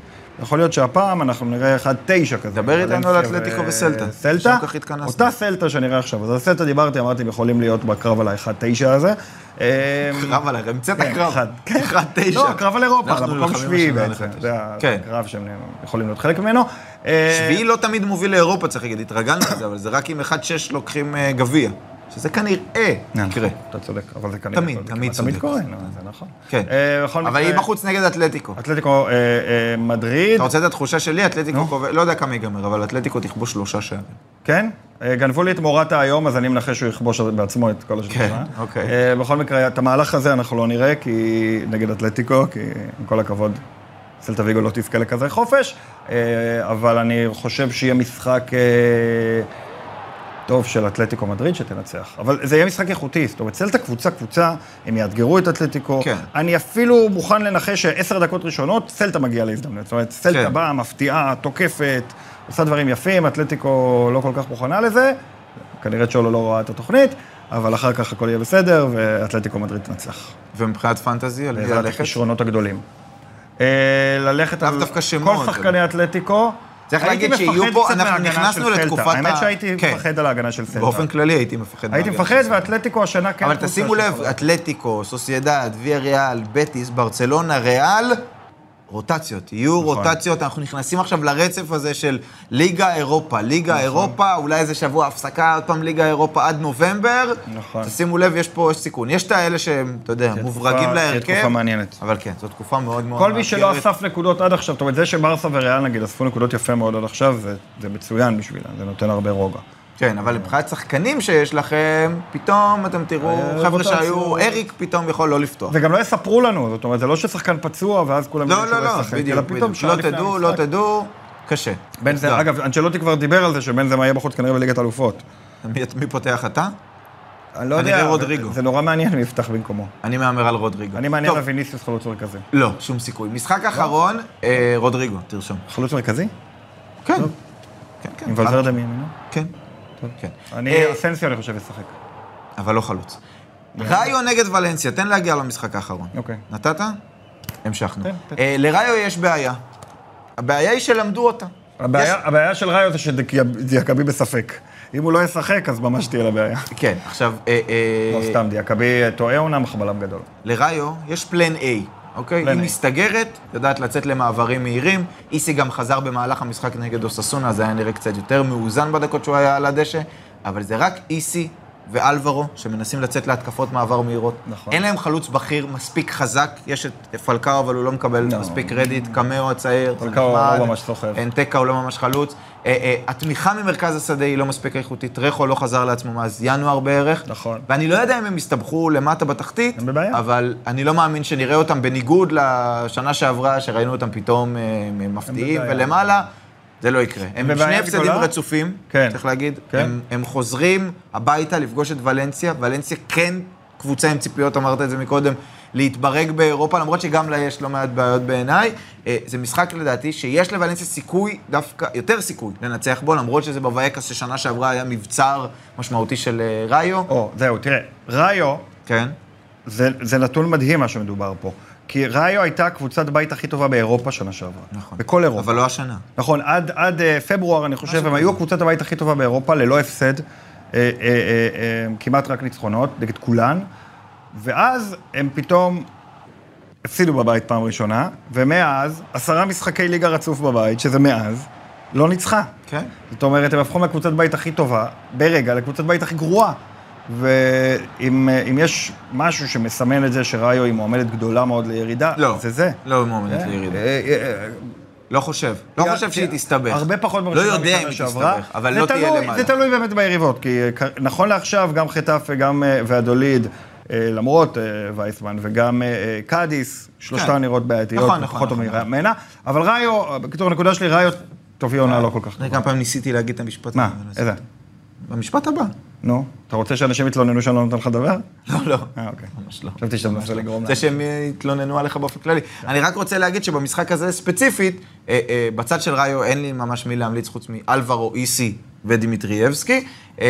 [SPEAKER 1] יכול להיות שהפעם אנחנו נראה 1-9 כזה.
[SPEAKER 2] דבר איתנו על
[SPEAKER 1] וולנסיה
[SPEAKER 2] אתלטיקו
[SPEAKER 1] ו-
[SPEAKER 2] וסלטה,
[SPEAKER 1] סלטה,
[SPEAKER 2] שם כך התכנסנו.
[SPEAKER 1] אותה סלטה שנראה עכשיו. אז על סלטה דיברתי, אמרתי, הם יכולים להיות בקרב על ה-1-9 הזה. אה,
[SPEAKER 2] קרב על הרב, המצאת
[SPEAKER 1] כן,
[SPEAKER 2] קרב.
[SPEAKER 1] אחד. כן.
[SPEAKER 2] אחד תשע.
[SPEAKER 1] לא, קרב על אירופה,
[SPEAKER 2] אנחנו
[SPEAKER 1] על המקום
[SPEAKER 2] נלחמים
[SPEAKER 1] שביעי
[SPEAKER 2] השנה על
[SPEAKER 1] בעצם.
[SPEAKER 2] אחד
[SPEAKER 1] זה
[SPEAKER 2] תשע. כן.
[SPEAKER 1] הקרב שהם יכולים להיות חלק ממנו. אה,
[SPEAKER 2] שביעי לא תמיד מוביל לאירופה, צריך להגיד, התרגלנו לזה, אבל זה רק אם 1-6 לוקחים אה, גביע. שזה כנראה
[SPEAKER 1] אה,
[SPEAKER 2] לא יקרה.
[SPEAKER 1] אתה צודק, אבל זה כנראה...
[SPEAKER 2] תמיד,
[SPEAKER 1] כל-
[SPEAKER 2] תמיד
[SPEAKER 1] תמיד
[SPEAKER 2] צודק.
[SPEAKER 1] קורה, נו, זה נכון.
[SPEAKER 2] כן.
[SPEAKER 1] אה, בכל
[SPEAKER 2] אבל
[SPEAKER 1] מקרה,
[SPEAKER 2] היא בחוץ נגד אתלטיקו.
[SPEAKER 1] אתלטיקו אה, אה, מדריד,
[SPEAKER 2] אתה רוצה את התחושה שלי? אתלטיקו
[SPEAKER 1] נו.
[SPEAKER 2] קובע, לא יודע כמה ייגמר, אבל אתלטיקו תכבוש שלושה שערים.
[SPEAKER 1] כן? אה, גנבו לי את מורטה היום, אז אני מנחש שהוא יכבוש בעצמו את כל השנה.
[SPEAKER 2] כן, אוקיי.
[SPEAKER 1] אה, בכל מקרה, את המהלך הזה אנחנו לא נראה, כי נגד אתלטיקו, כי עם כל הכבוד, סלטה ויגו לא תזכה לכזה חופש, אה, אבל אני חושב שיהיה משחק אה, טוב של אתלטיקו מדריד שתנצח. אבל זה יהיה משחק איכותי, זאת אומרת, סלטה קבוצה קבוצה, הם יאתגרו את אתלטיקו.
[SPEAKER 2] כן.
[SPEAKER 1] אני אפילו מוכן לנחש שעשר דקות ראשונות, סלטה מגיעה להזדמנות. זאת אומרת, סלטה
[SPEAKER 2] כן.
[SPEAKER 1] באה, מפתיעה, תוקפת, עושה דברים יפים, אתלטיקו לא כל כך מוכנה לזה, כנראה צ'ולו לא ראה את התוכנית, אבל אחר כך הכל יהיה בסדר, ואתלטיקו מדריד תנצח.
[SPEAKER 2] ומבחינת פנטזי, על מי
[SPEAKER 1] בעזרת
[SPEAKER 2] ללכת?
[SPEAKER 1] הכישרונות הגדולים. אה, ללכת
[SPEAKER 2] לאו
[SPEAKER 1] על
[SPEAKER 2] דווקא שמות,
[SPEAKER 1] כל שחקני אתלטיקו.
[SPEAKER 2] צריך
[SPEAKER 1] הייתי
[SPEAKER 2] להגיד שיהיו
[SPEAKER 1] מפחד
[SPEAKER 2] פה-
[SPEAKER 1] קצת
[SPEAKER 2] אנחנו
[SPEAKER 1] מההגנה
[SPEAKER 2] נכנסנו
[SPEAKER 1] של סלטה.
[SPEAKER 2] לתקופת
[SPEAKER 1] האמת
[SPEAKER 2] ה-
[SPEAKER 1] שהייתי
[SPEAKER 2] כן.
[SPEAKER 1] מפחד על ההגנה של סלטה.
[SPEAKER 2] באופן כללי הייתי מפחד.
[SPEAKER 1] הייתי
[SPEAKER 2] מהגנה.
[SPEAKER 1] מפחד, ואתלטיקו השנה כן...
[SPEAKER 2] אבל
[SPEAKER 1] קבוצה
[SPEAKER 2] תשימו לב,
[SPEAKER 1] שיכולה.
[SPEAKER 2] אתלטיקו, סוסיידד, ויה ריאל, בטיס, ברצלונה, ריאל, רוטציות. יהיו
[SPEAKER 1] נכון.
[SPEAKER 2] רוטציות, אנחנו נכנסים עכשיו לרצף הזה של ליגה אירופה,
[SPEAKER 1] נכון.
[SPEAKER 2] ליגה אירופה, אולי איזה שבוע הפסקה, עוד פעם ליגה אירופה עד נובמבר.
[SPEAKER 1] נכון.
[SPEAKER 2] תשימו לב, יש פה, יש סיכון. יש את האלה שהם, אתה יודע,
[SPEAKER 1] תהיה
[SPEAKER 2] מוברגים
[SPEAKER 1] תקופה- תהיה
[SPEAKER 2] להרכב.
[SPEAKER 1] תקופה מעניינת.
[SPEAKER 2] אבל כן, זו תקופה מאוד מאוד
[SPEAKER 1] כל מי שלא
[SPEAKER 2] מאתגרת.
[SPEAKER 1] אסף נקודות עד עכשיו, זאת אומרת, זה שברסה וריאל נגיד אספו נקודות יפה מאוד עד עכשיו, זה, זה מצוין בשבילם, זה נותן הרבה רוגע.
[SPEAKER 2] כן, אבל מבחינת שחקנים שיש לכם, פתאום אתם תראו
[SPEAKER 1] אה,
[SPEAKER 2] חבר'ה
[SPEAKER 1] רוטציה.
[SPEAKER 2] שהיו, אריק פתאום יכול לא לפתוח.
[SPEAKER 1] וגם לא יספרו לנו, זאת אומרת, זה לא ששחקן פצוע ואז כולם
[SPEAKER 2] לא, לא,
[SPEAKER 1] שהוא
[SPEAKER 2] לא,
[SPEAKER 1] ישחק,
[SPEAKER 2] בדיוק,
[SPEAKER 1] אלא פתאום
[SPEAKER 2] בדיוק.
[SPEAKER 1] שעה
[SPEAKER 2] לא
[SPEAKER 1] לפני
[SPEAKER 2] תדעו, לא
[SPEAKER 1] המשחק.
[SPEAKER 2] תדעו, קשה. לא,
[SPEAKER 1] בן זה,
[SPEAKER 2] תודה.
[SPEAKER 1] אגב, אנשלוטי כבר דיבר על זה שבנזמה יהיה בחוץ כנראה בליגת אלופות.
[SPEAKER 2] מי- מי פותח אתה?
[SPEAKER 1] אני לא
[SPEAKER 2] כנראה
[SPEAKER 1] יודע,
[SPEAKER 2] רודריגו.
[SPEAKER 1] זה נורא מעניין מי יפתח במקומו.
[SPEAKER 2] אני מהמר על רודריגו.
[SPEAKER 1] אני מעניין
[SPEAKER 2] טוב,
[SPEAKER 1] על ויניסיוס חלוץ מרכזי.
[SPEAKER 2] לא, שום סיכוי. משחק אחרון, אה, רודריגו, תרשום.
[SPEAKER 1] חלוץ מרכזי?
[SPEAKER 2] כן. כן, כן.
[SPEAKER 1] עם ולוורדה מימינו?
[SPEAKER 2] כן. כן.
[SPEAKER 1] אני,
[SPEAKER 2] אה,
[SPEAKER 1] אסנסיו אני חושב ישחק.
[SPEAKER 2] אבל לא חלוץ. ראיו נגד ולנסיה, תן להגיע למשחק האחרון.
[SPEAKER 1] אוקיי.
[SPEAKER 2] נתת? המשכנו.
[SPEAKER 1] תן, תן.
[SPEAKER 2] אה, לראיו יש בעיה. הבעיה היא שלמדו אותה.
[SPEAKER 1] הבעיה הבעיה של ראיו זה שדיאקבי בספק. אם הוא לא ישחק, אז ממש תהיה לה בעיה.
[SPEAKER 2] יש- כן, עכשיו, אה, אה,
[SPEAKER 1] לא סתם, דיאקבי טועה אומנם, אך בלם גדול.
[SPEAKER 2] לראיו יש פלן A, אוקיי?
[SPEAKER 1] פלן
[SPEAKER 2] היא
[SPEAKER 1] A.
[SPEAKER 2] מסתגרת, יודעת לצאת למעברים מהירים. איסי גם חזר במהלך המשחק נגד אוססונה, זה היה נראה קצת יותר מאוזן בדקות שהוא היה על הדשא, אבל זה רק איסי ואלברו שמנסים לצאת להתקפות מעבר מהירות.
[SPEAKER 1] נכון.
[SPEAKER 2] אין להם חלוץ בכיר מספיק חזק, יש את פלקאו, אבל הוא לא מקבל
[SPEAKER 1] לא.
[SPEAKER 2] מספיק קרדיט, קמאו הצעיר, זה
[SPEAKER 1] פלקאו לא
[SPEAKER 2] נחמד.
[SPEAKER 1] ממש סוחב.
[SPEAKER 2] אנטקה הוא לא ממש חלוץ. אה, אה, התמיכה ממרכז השדה היא לא מספיק איכותית, רכו לא חזר לעצמו מאז ינואר בערך.
[SPEAKER 1] נכון.
[SPEAKER 2] ואני לא יודע אם הם יסתבכו למטה בתחתית,
[SPEAKER 1] הם בבעיה.
[SPEAKER 2] אבל אני לא מאמין שנראה אותם בניגוד לשנה שעברה, שראינו אותם פתאום אה, הם מפתיעים
[SPEAKER 1] בבעיה. ולמעלה,
[SPEAKER 2] ולמעלה, זה לא יקרה. הם עם
[SPEAKER 1] בבעיה
[SPEAKER 2] שני הפסדים
[SPEAKER 1] גדולה?
[SPEAKER 2] רצופים,
[SPEAKER 1] כן.
[SPEAKER 2] צריך להגיד.
[SPEAKER 1] כן.
[SPEAKER 2] הם- הם חוזרים הביתה לפגוש את ולנסיה. ולנסיה כן קבוצה עם ציפיות, אמרת את זה מקודם, להתברג באירופה, למרות שגם לה יש לא מעט בעיות בעיניי. אה, זה משחק, לדעתי, שיש לוולנסיה סיכוי, דווקא יותר סיכוי, לנצח בו, למרות שזה בווייקס ששנה שעברה היה מבצר משמעותי של אה, ראיו.
[SPEAKER 1] או, זהו, תראה, ראיו,
[SPEAKER 2] כן.
[SPEAKER 1] זה זה נתון מדהים מה שמדובר פה. כי ראיו הייתה קבוצת בית הכי טובה באירופה שנה שעברה.
[SPEAKER 2] נכון.
[SPEAKER 1] בכל אירופה.
[SPEAKER 2] אבל לא השנה.
[SPEAKER 1] נכון, עד, עד אה, פברואר, אני חושב, הם היו קבוצת הבית הכי טובה באירופה, ללא הפסד, אה, אה, אה, אה, כמעט רק ניצחונות, נגד כולן, ואז הם פתאום הפסידו בבית פעם ראשונה, ומאז, עשרה משחקי ליגה רצוף בבית, שזה מאז, לא ניצחה.
[SPEAKER 2] כן.
[SPEAKER 1] זאת אומרת, הם הפכו מהקבוצת בית הכי טובה, ברגע, לקבוצת בית הכי גרועה. ואם אה, אם יש משהו שמסמן את זה שראיו היא מועמדת גדולה מאוד לירידה,
[SPEAKER 2] לא.
[SPEAKER 1] זה זה.
[SPEAKER 2] לא מועמדת
[SPEAKER 1] אה,
[SPEAKER 2] לירידה.
[SPEAKER 1] אה, אה,
[SPEAKER 2] לא חושב. לא חושב שהיא תסתבך.
[SPEAKER 1] הרבה פחות
[SPEAKER 2] לא
[SPEAKER 1] בראשונה
[SPEAKER 2] יודע
[SPEAKER 1] משנה
[SPEAKER 2] אם היא
[SPEAKER 1] שעברה.
[SPEAKER 2] תסתבך, אבל
[SPEAKER 1] זה
[SPEAKER 2] לא תהיה
[SPEAKER 1] תלוי-
[SPEAKER 2] למעלה.
[SPEAKER 1] זה תלוי באמת ביריבות, כי אה, כ- נכון לעכשיו, גם חטאפה, גם אה, והדוליד, אה, למרות אה, וייסמן, וגם אה, אה, קאדיס, שלושתן
[SPEAKER 2] כן.
[SPEAKER 1] נראות בעייתיות,
[SPEAKER 2] נכון, נכון,
[SPEAKER 1] פחות טוב
[SPEAKER 2] נכון.
[SPEAKER 1] מרא- ממנה, אבל ראיו, אה, בקיצור, הנקודה שלי, ראיו, טוב, היא עונה לא כל כך
[SPEAKER 2] אה, אני
[SPEAKER 1] טובה.
[SPEAKER 2] כמה פעמים ניסיתי להגיד את המשפט
[SPEAKER 1] מה,
[SPEAKER 2] הזה, אבל לא
[SPEAKER 1] איזה?
[SPEAKER 2] עשיתי. במשפט הבא.
[SPEAKER 1] נו, אתה רוצה שאנשים יתלוננו שאני לא נותן לך לדבר?
[SPEAKER 2] לא, לא.
[SPEAKER 1] אה, אוקיי.
[SPEAKER 2] ממש לא.
[SPEAKER 1] חשבתי שאתה מנסה לגרום
[SPEAKER 2] זה שהם יתלוננו עליך באופן כללי. אני רק רוצה להגיד שבמשחק הזה ספציפית, אה, אה, בצד של ראיו אין לי ממש מי להמליץ חוץ מאלברו איסי ודימיטריאבסקי. אה,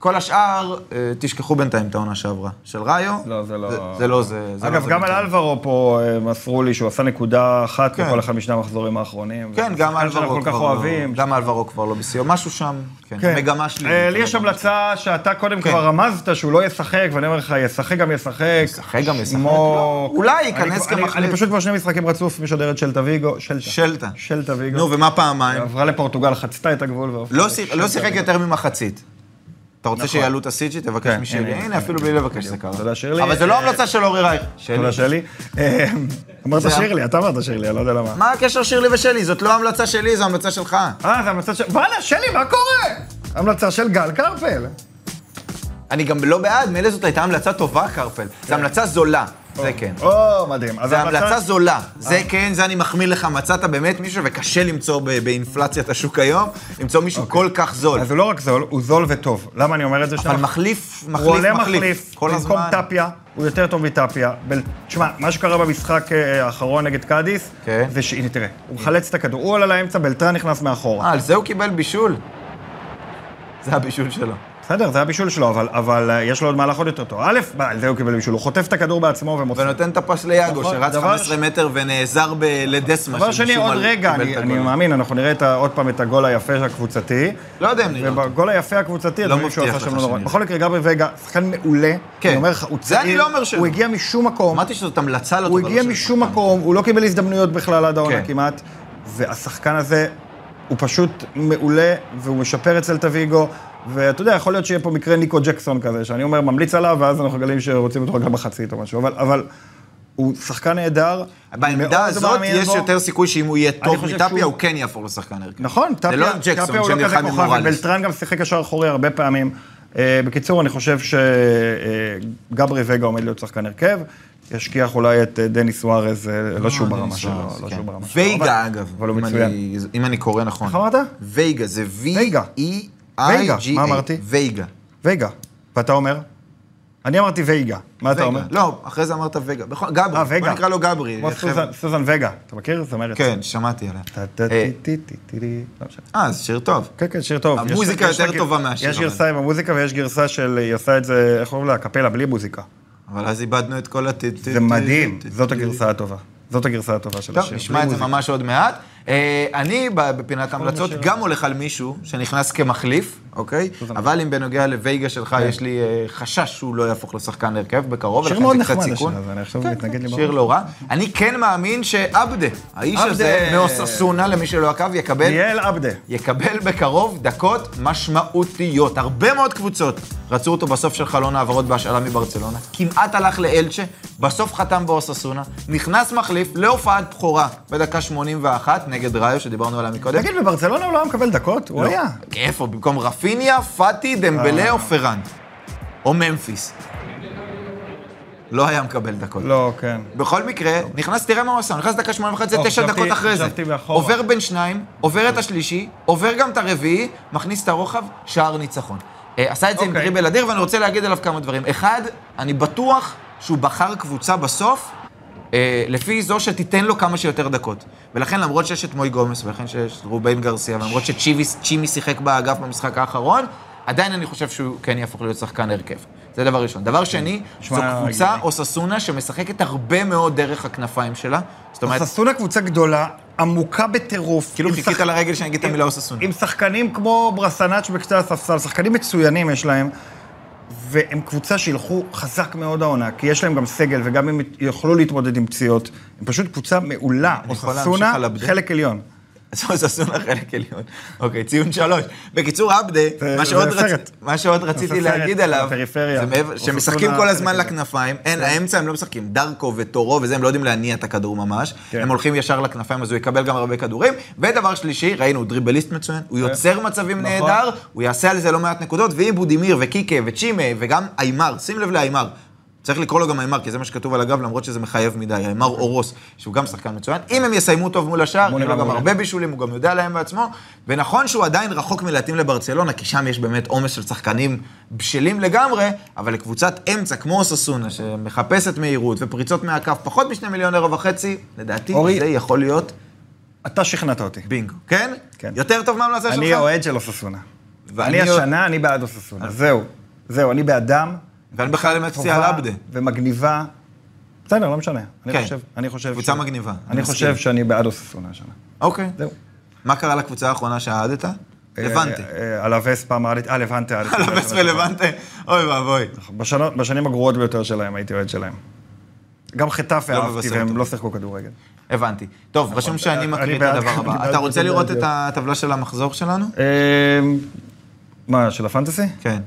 [SPEAKER 2] כל השאר, אה, תשכחו בינתיים את העונה שעברה של ראיו.
[SPEAKER 1] לא, זה לא-
[SPEAKER 2] זה לא זה. זה לא
[SPEAKER 1] אגב,
[SPEAKER 2] זה
[SPEAKER 1] גם על
[SPEAKER 2] בינתיים.
[SPEAKER 1] אלברו פה אה, מסרו לי שהוא עשה נקודה אחת
[SPEAKER 2] כן.
[SPEAKER 1] בכל אחד משני המחזורים האחרונים.
[SPEAKER 2] כן,
[SPEAKER 1] זה
[SPEAKER 2] גם
[SPEAKER 1] שחקן שאנחנו
[SPEAKER 2] אלברו
[SPEAKER 1] כל כך
[SPEAKER 2] כבר לא-
[SPEAKER 1] אוהבים,
[SPEAKER 2] גם אלברו כבר לא בסיום. משהו שם, כן. מגמה שלי.
[SPEAKER 1] אה, לי יש המלצה שאתה קודם
[SPEAKER 2] כן.
[SPEAKER 1] כבר רמזת שהוא לא ישחק, ואני אומר לך, ישחק גם ישחק.
[SPEAKER 2] ישחק גם ישחק,
[SPEAKER 1] שמו-
[SPEAKER 2] לא. אולי
[SPEAKER 1] אני
[SPEAKER 2] ייכנס
[SPEAKER 1] כבר- אני-
[SPEAKER 2] כמחליף.
[SPEAKER 1] אני פשוט כבר שני משחקים רצוף משדרת שלטה ויגו. שלטה.
[SPEAKER 2] שלטה.
[SPEAKER 1] שלטה ויגו.
[SPEAKER 2] נו, ומה פעמיים?
[SPEAKER 1] עברה לפורטוגל, חצתה את הגבול. והפכה
[SPEAKER 2] לא
[SPEAKER 1] לשלטה
[SPEAKER 2] שיח- לא שיחק
[SPEAKER 1] ויגו.
[SPEAKER 2] יותר ממחצית. אתה רוצה שיעלו את הסיג'י? תבקש
[SPEAKER 1] נכון. כן,
[SPEAKER 2] משלי.
[SPEAKER 1] הנה,
[SPEAKER 2] הנה, אפילו בלי לבקש זה קרה.
[SPEAKER 1] תודה, שירלי.
[SPEAKER 2] אבל זה
[SPEAKER 1] אה,
[SPEAKER 2] לא המלצה של אורי רייך.
[SPEAKER 1] תודה, שלי. אה, אמרת
[SPEAKER 2] זה-
[SPEAKER 1] שירלי, אתה אמרת שירלי, אני לא יודע למה.
[SPEAKER 2] מה הקשר שלי ושלי? זאת לא המלצה שלי, זו המלצה שלך.
[SPEAKER 1] אה, זה המלצה של... וואלה, שלי, מה קורה? המלצה של גל קרפל.
[SPEAKER 2] אני גם לא בעד, מילא זאת הייתה המלצה טובה, קרפל.
[SPEAKER 1] כן.
[SPEAKER 2] זו המלצה זולה.
[SPEAKER 1] אוקיי.
[SPEAKER 2] זה כן.
[SPEAKER 1] או, מדהים. אז
[SPEAKER 2] זו
[SPEAKER 1] ההמלצה-
[SPEAKER 2] המלצה זולה. זה
[SPEAKER 1] אה.
[SPEAKER 2] כן, זה אני מחמיא לך, מצאת באמת מישהו, וקשה למצוא ב- באינפלציית השוק היום, למצוא מישהו כל כך זול.
[SPEAKER 1] אז הוא לא רק זול, הוא זול וטוב. למה אני אומר את זה?
[SPEAKER 2] אבל
[SPEAKER 1] שאנחנו-
[SPEAKER 2] מחליף,
[SPEAKER 1] הוא
[SPEAKER 2] מחליף,
[SPEAKER 1] עולה
[SPEAKER 2] מחליף.
[SPEAKER 1] מחליף,
[SPEAKER 2] כל
[SPEAKER 1] במקום
[SPEAKER 2] הזמן.
[SPEAKER 1] טפיה, הוא יותר טוב מטפיה. בל- תשמע, מה שקרה במשחק אה, האחרון נגד קאדיס,
[SPEAKER 2] כן.
[SPEAKER 1] זה ש... הנה, תראה, הוא מחלץ את הכדור, הוא עלה לאמצע, בלטרן נכנס מאחורה.
[SPEAKER 2] אה, על זה הוא קיבל בישול? זה הבישול שלו.
[SPEAKER 1] בסדר, זה הבישול שלו, אבל- אבל אה, יש לו עוד מהלך עוד יותר טוב. א', מה, על זה הוא קיבל בישול, הוא חוטף את הכדור בעצמו ומוסר.
[SPEAKER 2] ונותן את הפס ליאגו,
[SPEAKER 1] נכון,
[SPEAKER 2] שרץ
[SPEAKER 1] דבר
[SPEAKER 2] 15
[SPEAKER 1] ש-
[SPEAKER 2] מטר ונעזר בלדסמה.
[SPEAKER 1] דבר שני,
[SPEAKER 2] שבשום
[SPEAKER 1] עוד
[SPEAKER 2] על-
[SPEAKER 1] רגע,
[SPEAKER 2] קיבל
[SPEAKER 1] אני-
[SPEAKER 2] את הגול.
[SPEAKER 1] אני מאמין, אנחנו נראה את ה- עוד פעם את הגול היפה הקבוצתי.
[SPEAKER 2] לא יודע אם נראה. אותו.
[SPEAKER 1] ובגול היפה הקבוצתי,
[SPEAKER 2] לא
[SPEAKER 1] הדברים שהוא
[SPEAKER 2] מבטיח
[SPEAKER 1] עשה
[SPEAKER 2] לך
[SPEAKER 1] שם לא נורא.
[SPEAKER 2] שנראה.
[SPEAKER 1] בכל מקרה, גברי וגה, שחקן מעולה.
[SPEAKER 2] כן.
[SPEAKER 1] אני אומר לך, הוא צעיר.
[SPEAKER 2] זה אני לא אומר שלא.
[SPEAKER 1] הוא הגיע משום מקום.
[SPEAKER 2] אמרתי שזאת המלצה לא טובה.
[SPEAKER 1] הוא הגיע
[SPEAKER 2] לא
[SPEAKER 1] משום מקום, הוא לא קיבל הזדמנויות בכלל עד העונה
[SPEAKER 2] כן.
[SPEAKER 1] כמעט, והשחקן הזה הוא פשוט מעולה, והוא משפר אצל תוויגו, ואתה יודע, יכול להיות שיהיה פה מקרה ניקו ג'קסון כזה, שאני אומר, ממליץ עליו, ואז אנחנו מגלים שרוצים אותו רק למחצית או משהו, אבל, אבל הוא שחקן נהדר. מאוד
[SPEAKER 2] בעמדה הזאת
[SPEAKER 1] מאמין
[SPEAKER 2] יש
[SPEAKER 1] בו.
[SPEAKER 2] יותר סיכוי שאם הוא יהיה טוב
[SPEAKER 1] חושב
[SPEAKER 2] מטאפיה,
[SPEAKER 1] שהוא-
[SPEAKER 2] הוא כן יהפוך לשחקן הרכב.
[SPEAKER 1] נכון,
[SPEAKER 2] זה לא ג'קסון
[SPEAKER 1] טאפיה הוא לא כזה
[SPEAKER 2] שנלחם עם
[SPEAKER 1] כוכב,
[SPEAKER 2] מוראלס.
[SPEAKER 1] ובלטרן גם שיחק קשר אחורי הרבה פעמים. אה, בקיצור, אני חושב שגברי וגה עומד להיות שחקן הרכב, ישכיח אולי את אה, דני סוארז, אה, לא שהוא ברמה
[SPEAKER 2] דניס
[SPEAKER 1] שלו,
[SPEAKER 2] סוארז,
[SPEAKER 1] לא
[SPEAKER 2] כן.
[SPEAKER 1] שהוא ברמה שלו.
[SPEAKER 2] וייגה,
[SPEAKER 1] אבל-
[SPEAKER 2] אגב,
[SPEAKER 1] אבל הוא
[SPEAKER 2] אם
[SPEAKER 1] מצוין.
[SPEAKER 2] אני- אם אני קורא נכון.
[SPEAKER 1] איך אמרת?
[SPEAKER 2] וייגה, זה E
[SPEAKER 1] וייגה.
[SPEAKER 2] V-E-I-G-A.
[SPEAKER 1] וייגה, מה אמרתי?
[SPEAKER 2] וייגה.
[SPEAKER 1] וייגה. ואתה אומר? אני אמרתי וייגה. מה אתה
[SPEAKER 2] וייגה.
[SPEAKER 1] אומר?
[SPEAKER 2] לא, אחרי זה אמרת וייגה. בכל- גברי,
[SPEAKER 1] אה,
[SPEAKER 2] בוא
[SPEAKER 1] וייגה.
[SPEAKER 2] נקרא לו גברי.
[SPEAKER 1] כמו
[SPEAKER 2] חבר'ה.
[SPEAKER 1] סוזן- סוזן וייגה, אתה מכיר? זמרת.
[SPEAKER 2] כן, שמעתי עליה.
[SPEAKER 1] טה- טה-
[SPEAKER 2] אה,
[SPEAKER 1] טי- טי- טי- טי- לא משנה.
[SPEAKER 2] אה, זה שיר טוב.
[SPEAKER 1] כן, כן, שיר טוב.
[SPEAKER 2] המוזיקה
[SPEAKER 1] יש- יש
[SPEAKER 2] יותר
[SPEAKER 1] לה-
[SPEAKER 2] טובה מהשיר,
[SPEAKER 1] יש
[SPEAKER 2] אבל.
[SPEAKER 1] גרסה עם המוזיקה ויש גרסה של, היא עושה את זה, איך קוראים לה? קפלה, בלי מוזיקה.
[SPEAKER 2] אבל אז איבדנו את כל הטי... טי-
[SPEAKER 1] זה
[SPEAKER 2] טי-
[SPEAKER 1] מדהים,
[SPEAKER 2] טי-
[SPEAKER 1] זאת
[SPEAKER 2] טי-
[SPEAKER 1] הגרסה הטובה. זאת הגרסה הטובה של
[SPEAKER 2] טוב,
[SPEAKER 1] השיר.
[SPEAKER 2] נשמע את זה ממש עוד מעט. אה, אני ב- בפינת ההמלצות גם הולך על מישהו שנכנס כמחליף, אוקיי? אבל אם בנוגע לווייגה שלך, יש לי אה, חשש שהוא לא יהפוך לשחקן הרכב בקרוב,
[SPEAKER 1] כן. שיר
[SPEAKER 2] ולכן
[SPEAKER 1] מאוד
[SPEAKER 2] זה קצת
[SPEAKER 1] נחמד
[SPEAKER 2] סיכון.
[SPEAKER 1] השיר הזה, אני עכשיו
[SPEAKER 2] כן,
[SPEAKER 1] מתנגד לי
[SPEAKER 2] שיר
[SPEAKER 1] בראש.
[SPEAKER 2] לא רע. אני כן מאמין שעבדה, האיש
[SPEAKER 1] עבדה.
[SPEAKER 2] הזה מאוססונה, למי שלא עקב, יקבל
[SPEAKER 1] ליאל עבדה.
[SPEAKER 2] יקבל בקרוב דקות משמעותיות. הרבה מאוד קבוצות רצו אותו בסוף של חלון העברות בהשאלה מברצלונה. כמעט הלך לאלצ'ה, בסוף חתם באוססונה, נכנס מחליף להופעת בכורה בדקה 81 נגד ראיו, שדיברנו עליה מקודם.
[SPEAKER 1] תגיד, בברצלונה הוא לא היה מקבל דקות? הוא היה.
[SPEAKER 2] איפה? במקום רפיניה, פאטי, דמבלה או פרן. או ממפיס. לא היה מקבל דקות.
[SPEAKER 1] לא, כן.
[SPEAKER 2] בכל מקרה, נכנס, תראה מה הוא עשה, הוא נכנס דקה 81, זה
[SPEAKER 1] לא,
[SPEAKER 2] תשע
[SPEAKER 1] חשבתי-
[SPEAKER 2] דקות אחרי זה.
[SPEAKER 1] חשבתי מאחורה.
[SPEAKER 2] עובר בין שניים, עובר את השלישי, עובר גם את הרביעי, מכניס את הרוחב, שער ניצחון. אה, עשה את זה עם
[SPEAKER 1] אוקיי.
[SPEAKER 2] דריבל אדיר, ואני רוצה להגיד עליו כמה דברים. אחד, אני בטוח שהוא בחר קבוצה בסוף, אה, לפי זו שתיתן לו כמה שיותר דקות. ולכן, למרות שיש את מוי גומס, ולכן שיש את רובן גרסיה, ולמרות שצ'ימי שיחק באגף במשחק האחרון, עדיין אני חושב שהוא כן יהפוך להיות שחקן הרכב. זה דבר ראשון. דבר שני, זו
[SPEAKER 1] נשמע
[SPEAKER 2] קבוצה
[SPEAKER 1] הגיוני.
[SPEAKER 2] אוססונה שמשחקת הרבה מאוד דרך הכנפיים שלה. זאת אומרת,
[SPEAKER 1] ססונה קבוצה גדולה, עמוקה בטירוף.
[SPEAKER 2] כאילו
[SPEAKER 1] עם
[SPEAKER 2] חיכית
[SPEAKER 1] שחק-
[SPEAKER 2] לרגל שאני אגיד את המילה אוססונה.
[SPEAKER 1] עם שחקנים כמו ברסנאץ' בקצה הספסל, שחקנים מצוינים יש להם, והם קבוצה שילכו חזק מאוד העונה, כי יש להם גם סגל, וגם הם יוכלו להתמודד עם פציעות. הם פשוט קבוצה מעולה.
[SPEAKER 2] יכול
[SPEAKER 1] אוססונה,
[SPEAKER 2] להמשיך על עבדה?
[SPEAKER 1] חלק עליון.
[SPEAKER 2] אז אוססונה חלק עליון. אוקיי, ציון שלוש. בקיצור, עבדה,
[SPEAKER 1] זה-
[SPEAKER 2] מה
[SPEAKER 1] זה
[SPEAKER 2] שעוד רצ-
[SPEAKER 1] סרט.
[SPEAKER 2] מה שעוד רציתי
[SPEAKER 1] סרט
[SPEAKER 2] להגיד עליו,
[SPEAKER 1] בפריפריה.
[SPEAKER 2] זה מעבר-
[SPEAKER 1] אוססונה
[SPEAKER 2] שמשחקים כל הזמן
[SPEAKER 1] חלק
[SPEAKER 2] לכנפיים,
[SPEAKER 1] כן.
[SPEAKER 2] אין, האמצע הם לא משחקים, דרקו וטורו וזה, הם לא יודעים להניע את הכדור ממש,
[SPEAKER 1] כן.
[SPEAKER 2] הם הולכים ישר לכנפיים, אז הוא יקבל גם הרבה כדורים. ודבר שלישי, ראינו, הוא דריבליסט מצוין, הוא יוצר מצבים
[SPEAKER 1] כן. נכון.
[SPEAKER 2] נהדר, הוא יעשה על זה לא מעט נקודות, ואם בודימיר וקיקה וצ'ימה וגם איימר, שים לב לאיימר. צריך לקרוא לו גם איימר, כי זה מה שכתוב על הגב, למרות שזה מחייב מדי, איימר אורוס, שהוא גם שחקן מצוין. אם הם יסיימו טוב מול השאר,
[SPEAKER 1] מעולה,
[SPEAKER 2] יהיו לו גם
[SPEAKER 1] מעולה.
[SPEAKER 2] הרבה בישולים, הוא גם יודע להם בעצמו. ונכון שהוא עדיין רחוק מלהתאים לברצלונה, כי שם יש באמת עומס של שחקנים בשלים לגמרי, אבל לקבוצת אמצע כמו אוססונה, שמחפשת מהירות ופריצות מהקו, פחות משני מיליון אירו וחצי, לדעתי
[SPEAKER 1] אורי-
[SPEAKER 2] זה יכול להיות
[SPEAKER 1] אתה שכנעת אותי.
[SPEAKER 2] בינגו, כן?
[SPEAKER 1] כן.
[SPEAKER 2] יותר טוב מהמלצה שלך?
[SPEAKER 1] אני אוהד של אוססונה.
[SPEAKER 2] ואני
[SPEAKER 1] אני
[SPEAKER 2] אוהד- אה.
[SPEAKER 1] השנה, אני בעד אוססונה. זהו. זהו, אני בעדם.
[SPEAKER 2] ואני בכלל מצציע על
[SPEAKER 1] טובה
[SPEAKER 2] עבדה.
[SPEAKER 1] ומגניבה. בסדר, לא משנה.
[SPEAKER 2] כן.
[SPEAKER 1] אני חושב, אני חושב...
[SPEAKER 2] קבוצה מגניבה, אני
[SPEAKER 1] אני חושב
[SPEAKER 2] מסכים.
[SPEAKER 1] שאני בעד אוססונה השנה.
[SPEAKER 2] אוקיי.
[SPEAKER 1] זהו.
[SPEAKER 2] מה קרה לקבוצה האחרונה שאהדת? לבנטה.
[SPEAKER 1] אה, אה, על הווספה מעלית, אה, לבנטה. אהדתי
[SPEAKER 2] על
[SPEAKER 1] אותה
[SPEAKER 2] הבס
[SPEAKER 1] בשנה
[SPEAKER 2] ולבנטה, אוי ואבוי.
[SPEAKER 1] שעברה. בשנה- בשנים הגרועות ביותר שלהם הייתי אוהד שלהם. גם חטאפה
[SPEAKER 2] לא
[SPEAKER 1] אהבתי
[SPEAKER 2] מבשר
[SPEAKER 1] והם
[SPEAKER 2] אותו.
[SPEAKER 1] לא שיחקו כדורגל.
[SPEAKER 2] הבנתי. טוב, רשום שאני
[SPEAKER 1] אני
[SPEAKER 2] מקריא את
[SPEAKER 1] בעד-
[SPEAKER 2] הדבר
[SPEAKER 1] אני
[SPEAKER 2] הבא.
[SPEAKER 1] בעד
[SPEAKER 2] אתה רוצה
[SPEAKER 1] לקבל
[SPEAKER 2] לראות את
[SPEAKER 1] דעות.
[SPEAKER 2] הטבלה של המחזור שלנו?
[SPEAKER 1] אה, מה, של הפנטסי?
[SPEAKER 2] כן.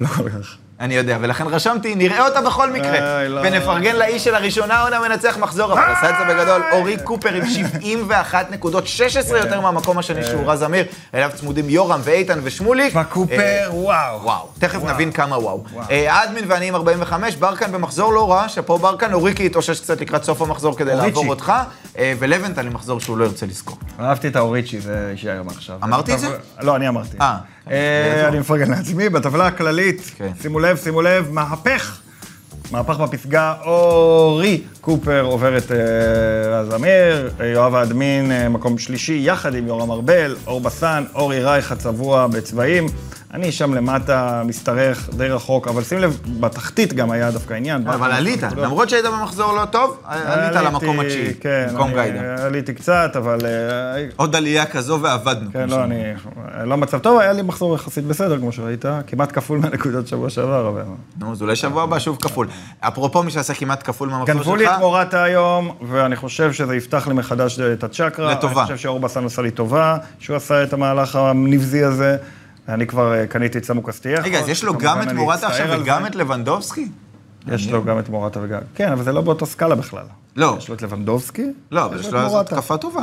[SPEAKER 1] לא כל כך.
[SPEAKER 2] אני יודע, ולכן רשמתי, נראה אותה בכל מקרה.
[SPEAKER 1] איי, לא.
[SPEAKER 2] ונפרגן לאיש של הראשונה, עונה מנצח מחזור, אבל עשה את זה בגדול, אורי קופר עם 71 נקודות, 16 יותר מהמקום
[SPEAKER 1] כן.
[SPEAKER 2] השני שהוא רז אמיר, אליו צמודים יורם ואיתן ושמוליק.
[SPEAKER 1] תשמע,
[SPEAKER 2] אה,
[SPEAKER 1] קופר, וואו.
[SPEAKER 2] וואו, תכף
[SPEAKER 1] וואו.
[SPEAKER 2] נבין כמה וואו.
[SPEAKER 1] וואו.
[SPEAKER 2] אה, אדמין ואני עם 45, ברקן במחזור לא רע, שאפו ברקן, אוריקי התאושש קצת לקראת סוף המחזור כדי
[SPEAKER 1] אוריצ'י.
[SPEAKER 2] לעבור אותך, אה, ולבנטל עם מחזור שהוא לא ירצה לזכור.
[SPEAKER 1] אהבתי את האוריצ'י, זה יישאר מעכשיו.
[SPEAKER 2] אמרתי את זה?
[SPEAKER 1] לא, אני אמרתי.
[SPEAKER 2] אה.
[SPEAKER 1] אה, אני מפרגן לעצמי, בטבלה הכללית,
[SPEAKER 2] כן.
[SPEAKER 1] שימו לב, שימו לב, מהפך. מהפך בפסגה, אורי קופר עובר את אה, רז אמיר, אה, יואב האדמין אה, מקום שלישי, יחד עם יורם ארבל, אור בסן, אורי רייך הצבוע בצבעים. אני שם למטה, משתרך, די רחוק, אבל שים לב, בתחתית גם היה דווקא עניין. לא,
[SPEAKER 2] אבל עלית, למרות שהיית במחזור לא טוב, עלית
[SPEAKER 1] אה,
[SPEAKER 2] למקום
[SPEAKER 1] עליתי,
[SPEAKER 2] התשיעי,
[SPEAKER 1] כן,
[SPEAKER 2] במקום
[SPEAKER 1] אני-
[SPEAKER 2] גיידן.
[SPEAKER 1] עליתי קצת, אבל אה,
[SPEAKER 2] עוד עלייה כזו ועבדנו.
[SPEAKER 1] כן, לא, אני... לא מצב טוב, היה לי מחזור יחסית בסדר, כמו שראית, כמעט כפול מהנקודות שבוע שעבר, אבל...
[SPEAKER 2] נו, אז אולי שבוע הבא שוב כפול. אפרופו מי שעשה כמעט כפול מהמחזור שלך,
[SPEAKER 1] גנבו לי את מורטה היום, ואני חושב שזה יפתח לי מחדש את הצ'קרה.
[SPEAKER 2] לטובה.
[SPEAKER 1] אני חושב שאור בסן עשה לי טובה, שהוא עשה את המהלך הנבזי הזה. אני כבר אה, קניתי את סמוקס טייח.
[SPEAKER 2] רגע, אז יש לו גם את מורטה עכשיו וגם את לבנדובסקי?
[SPEAKER 1] יש לו גם את מורטה וגם... כן, אבל זה לא באותה סקאלה בכלל.
[SPEAKER 2] לא.
[SPEAKER 1] יש לו את לבנדובסקי?
[SPEAKER 2] לא, אבל יש
[SPEAKER 1] את
[SPEAKER 2] לו אז
[SPEAKER 1] מורטה. כן,
[SPEAKER 2] התקפה טובה.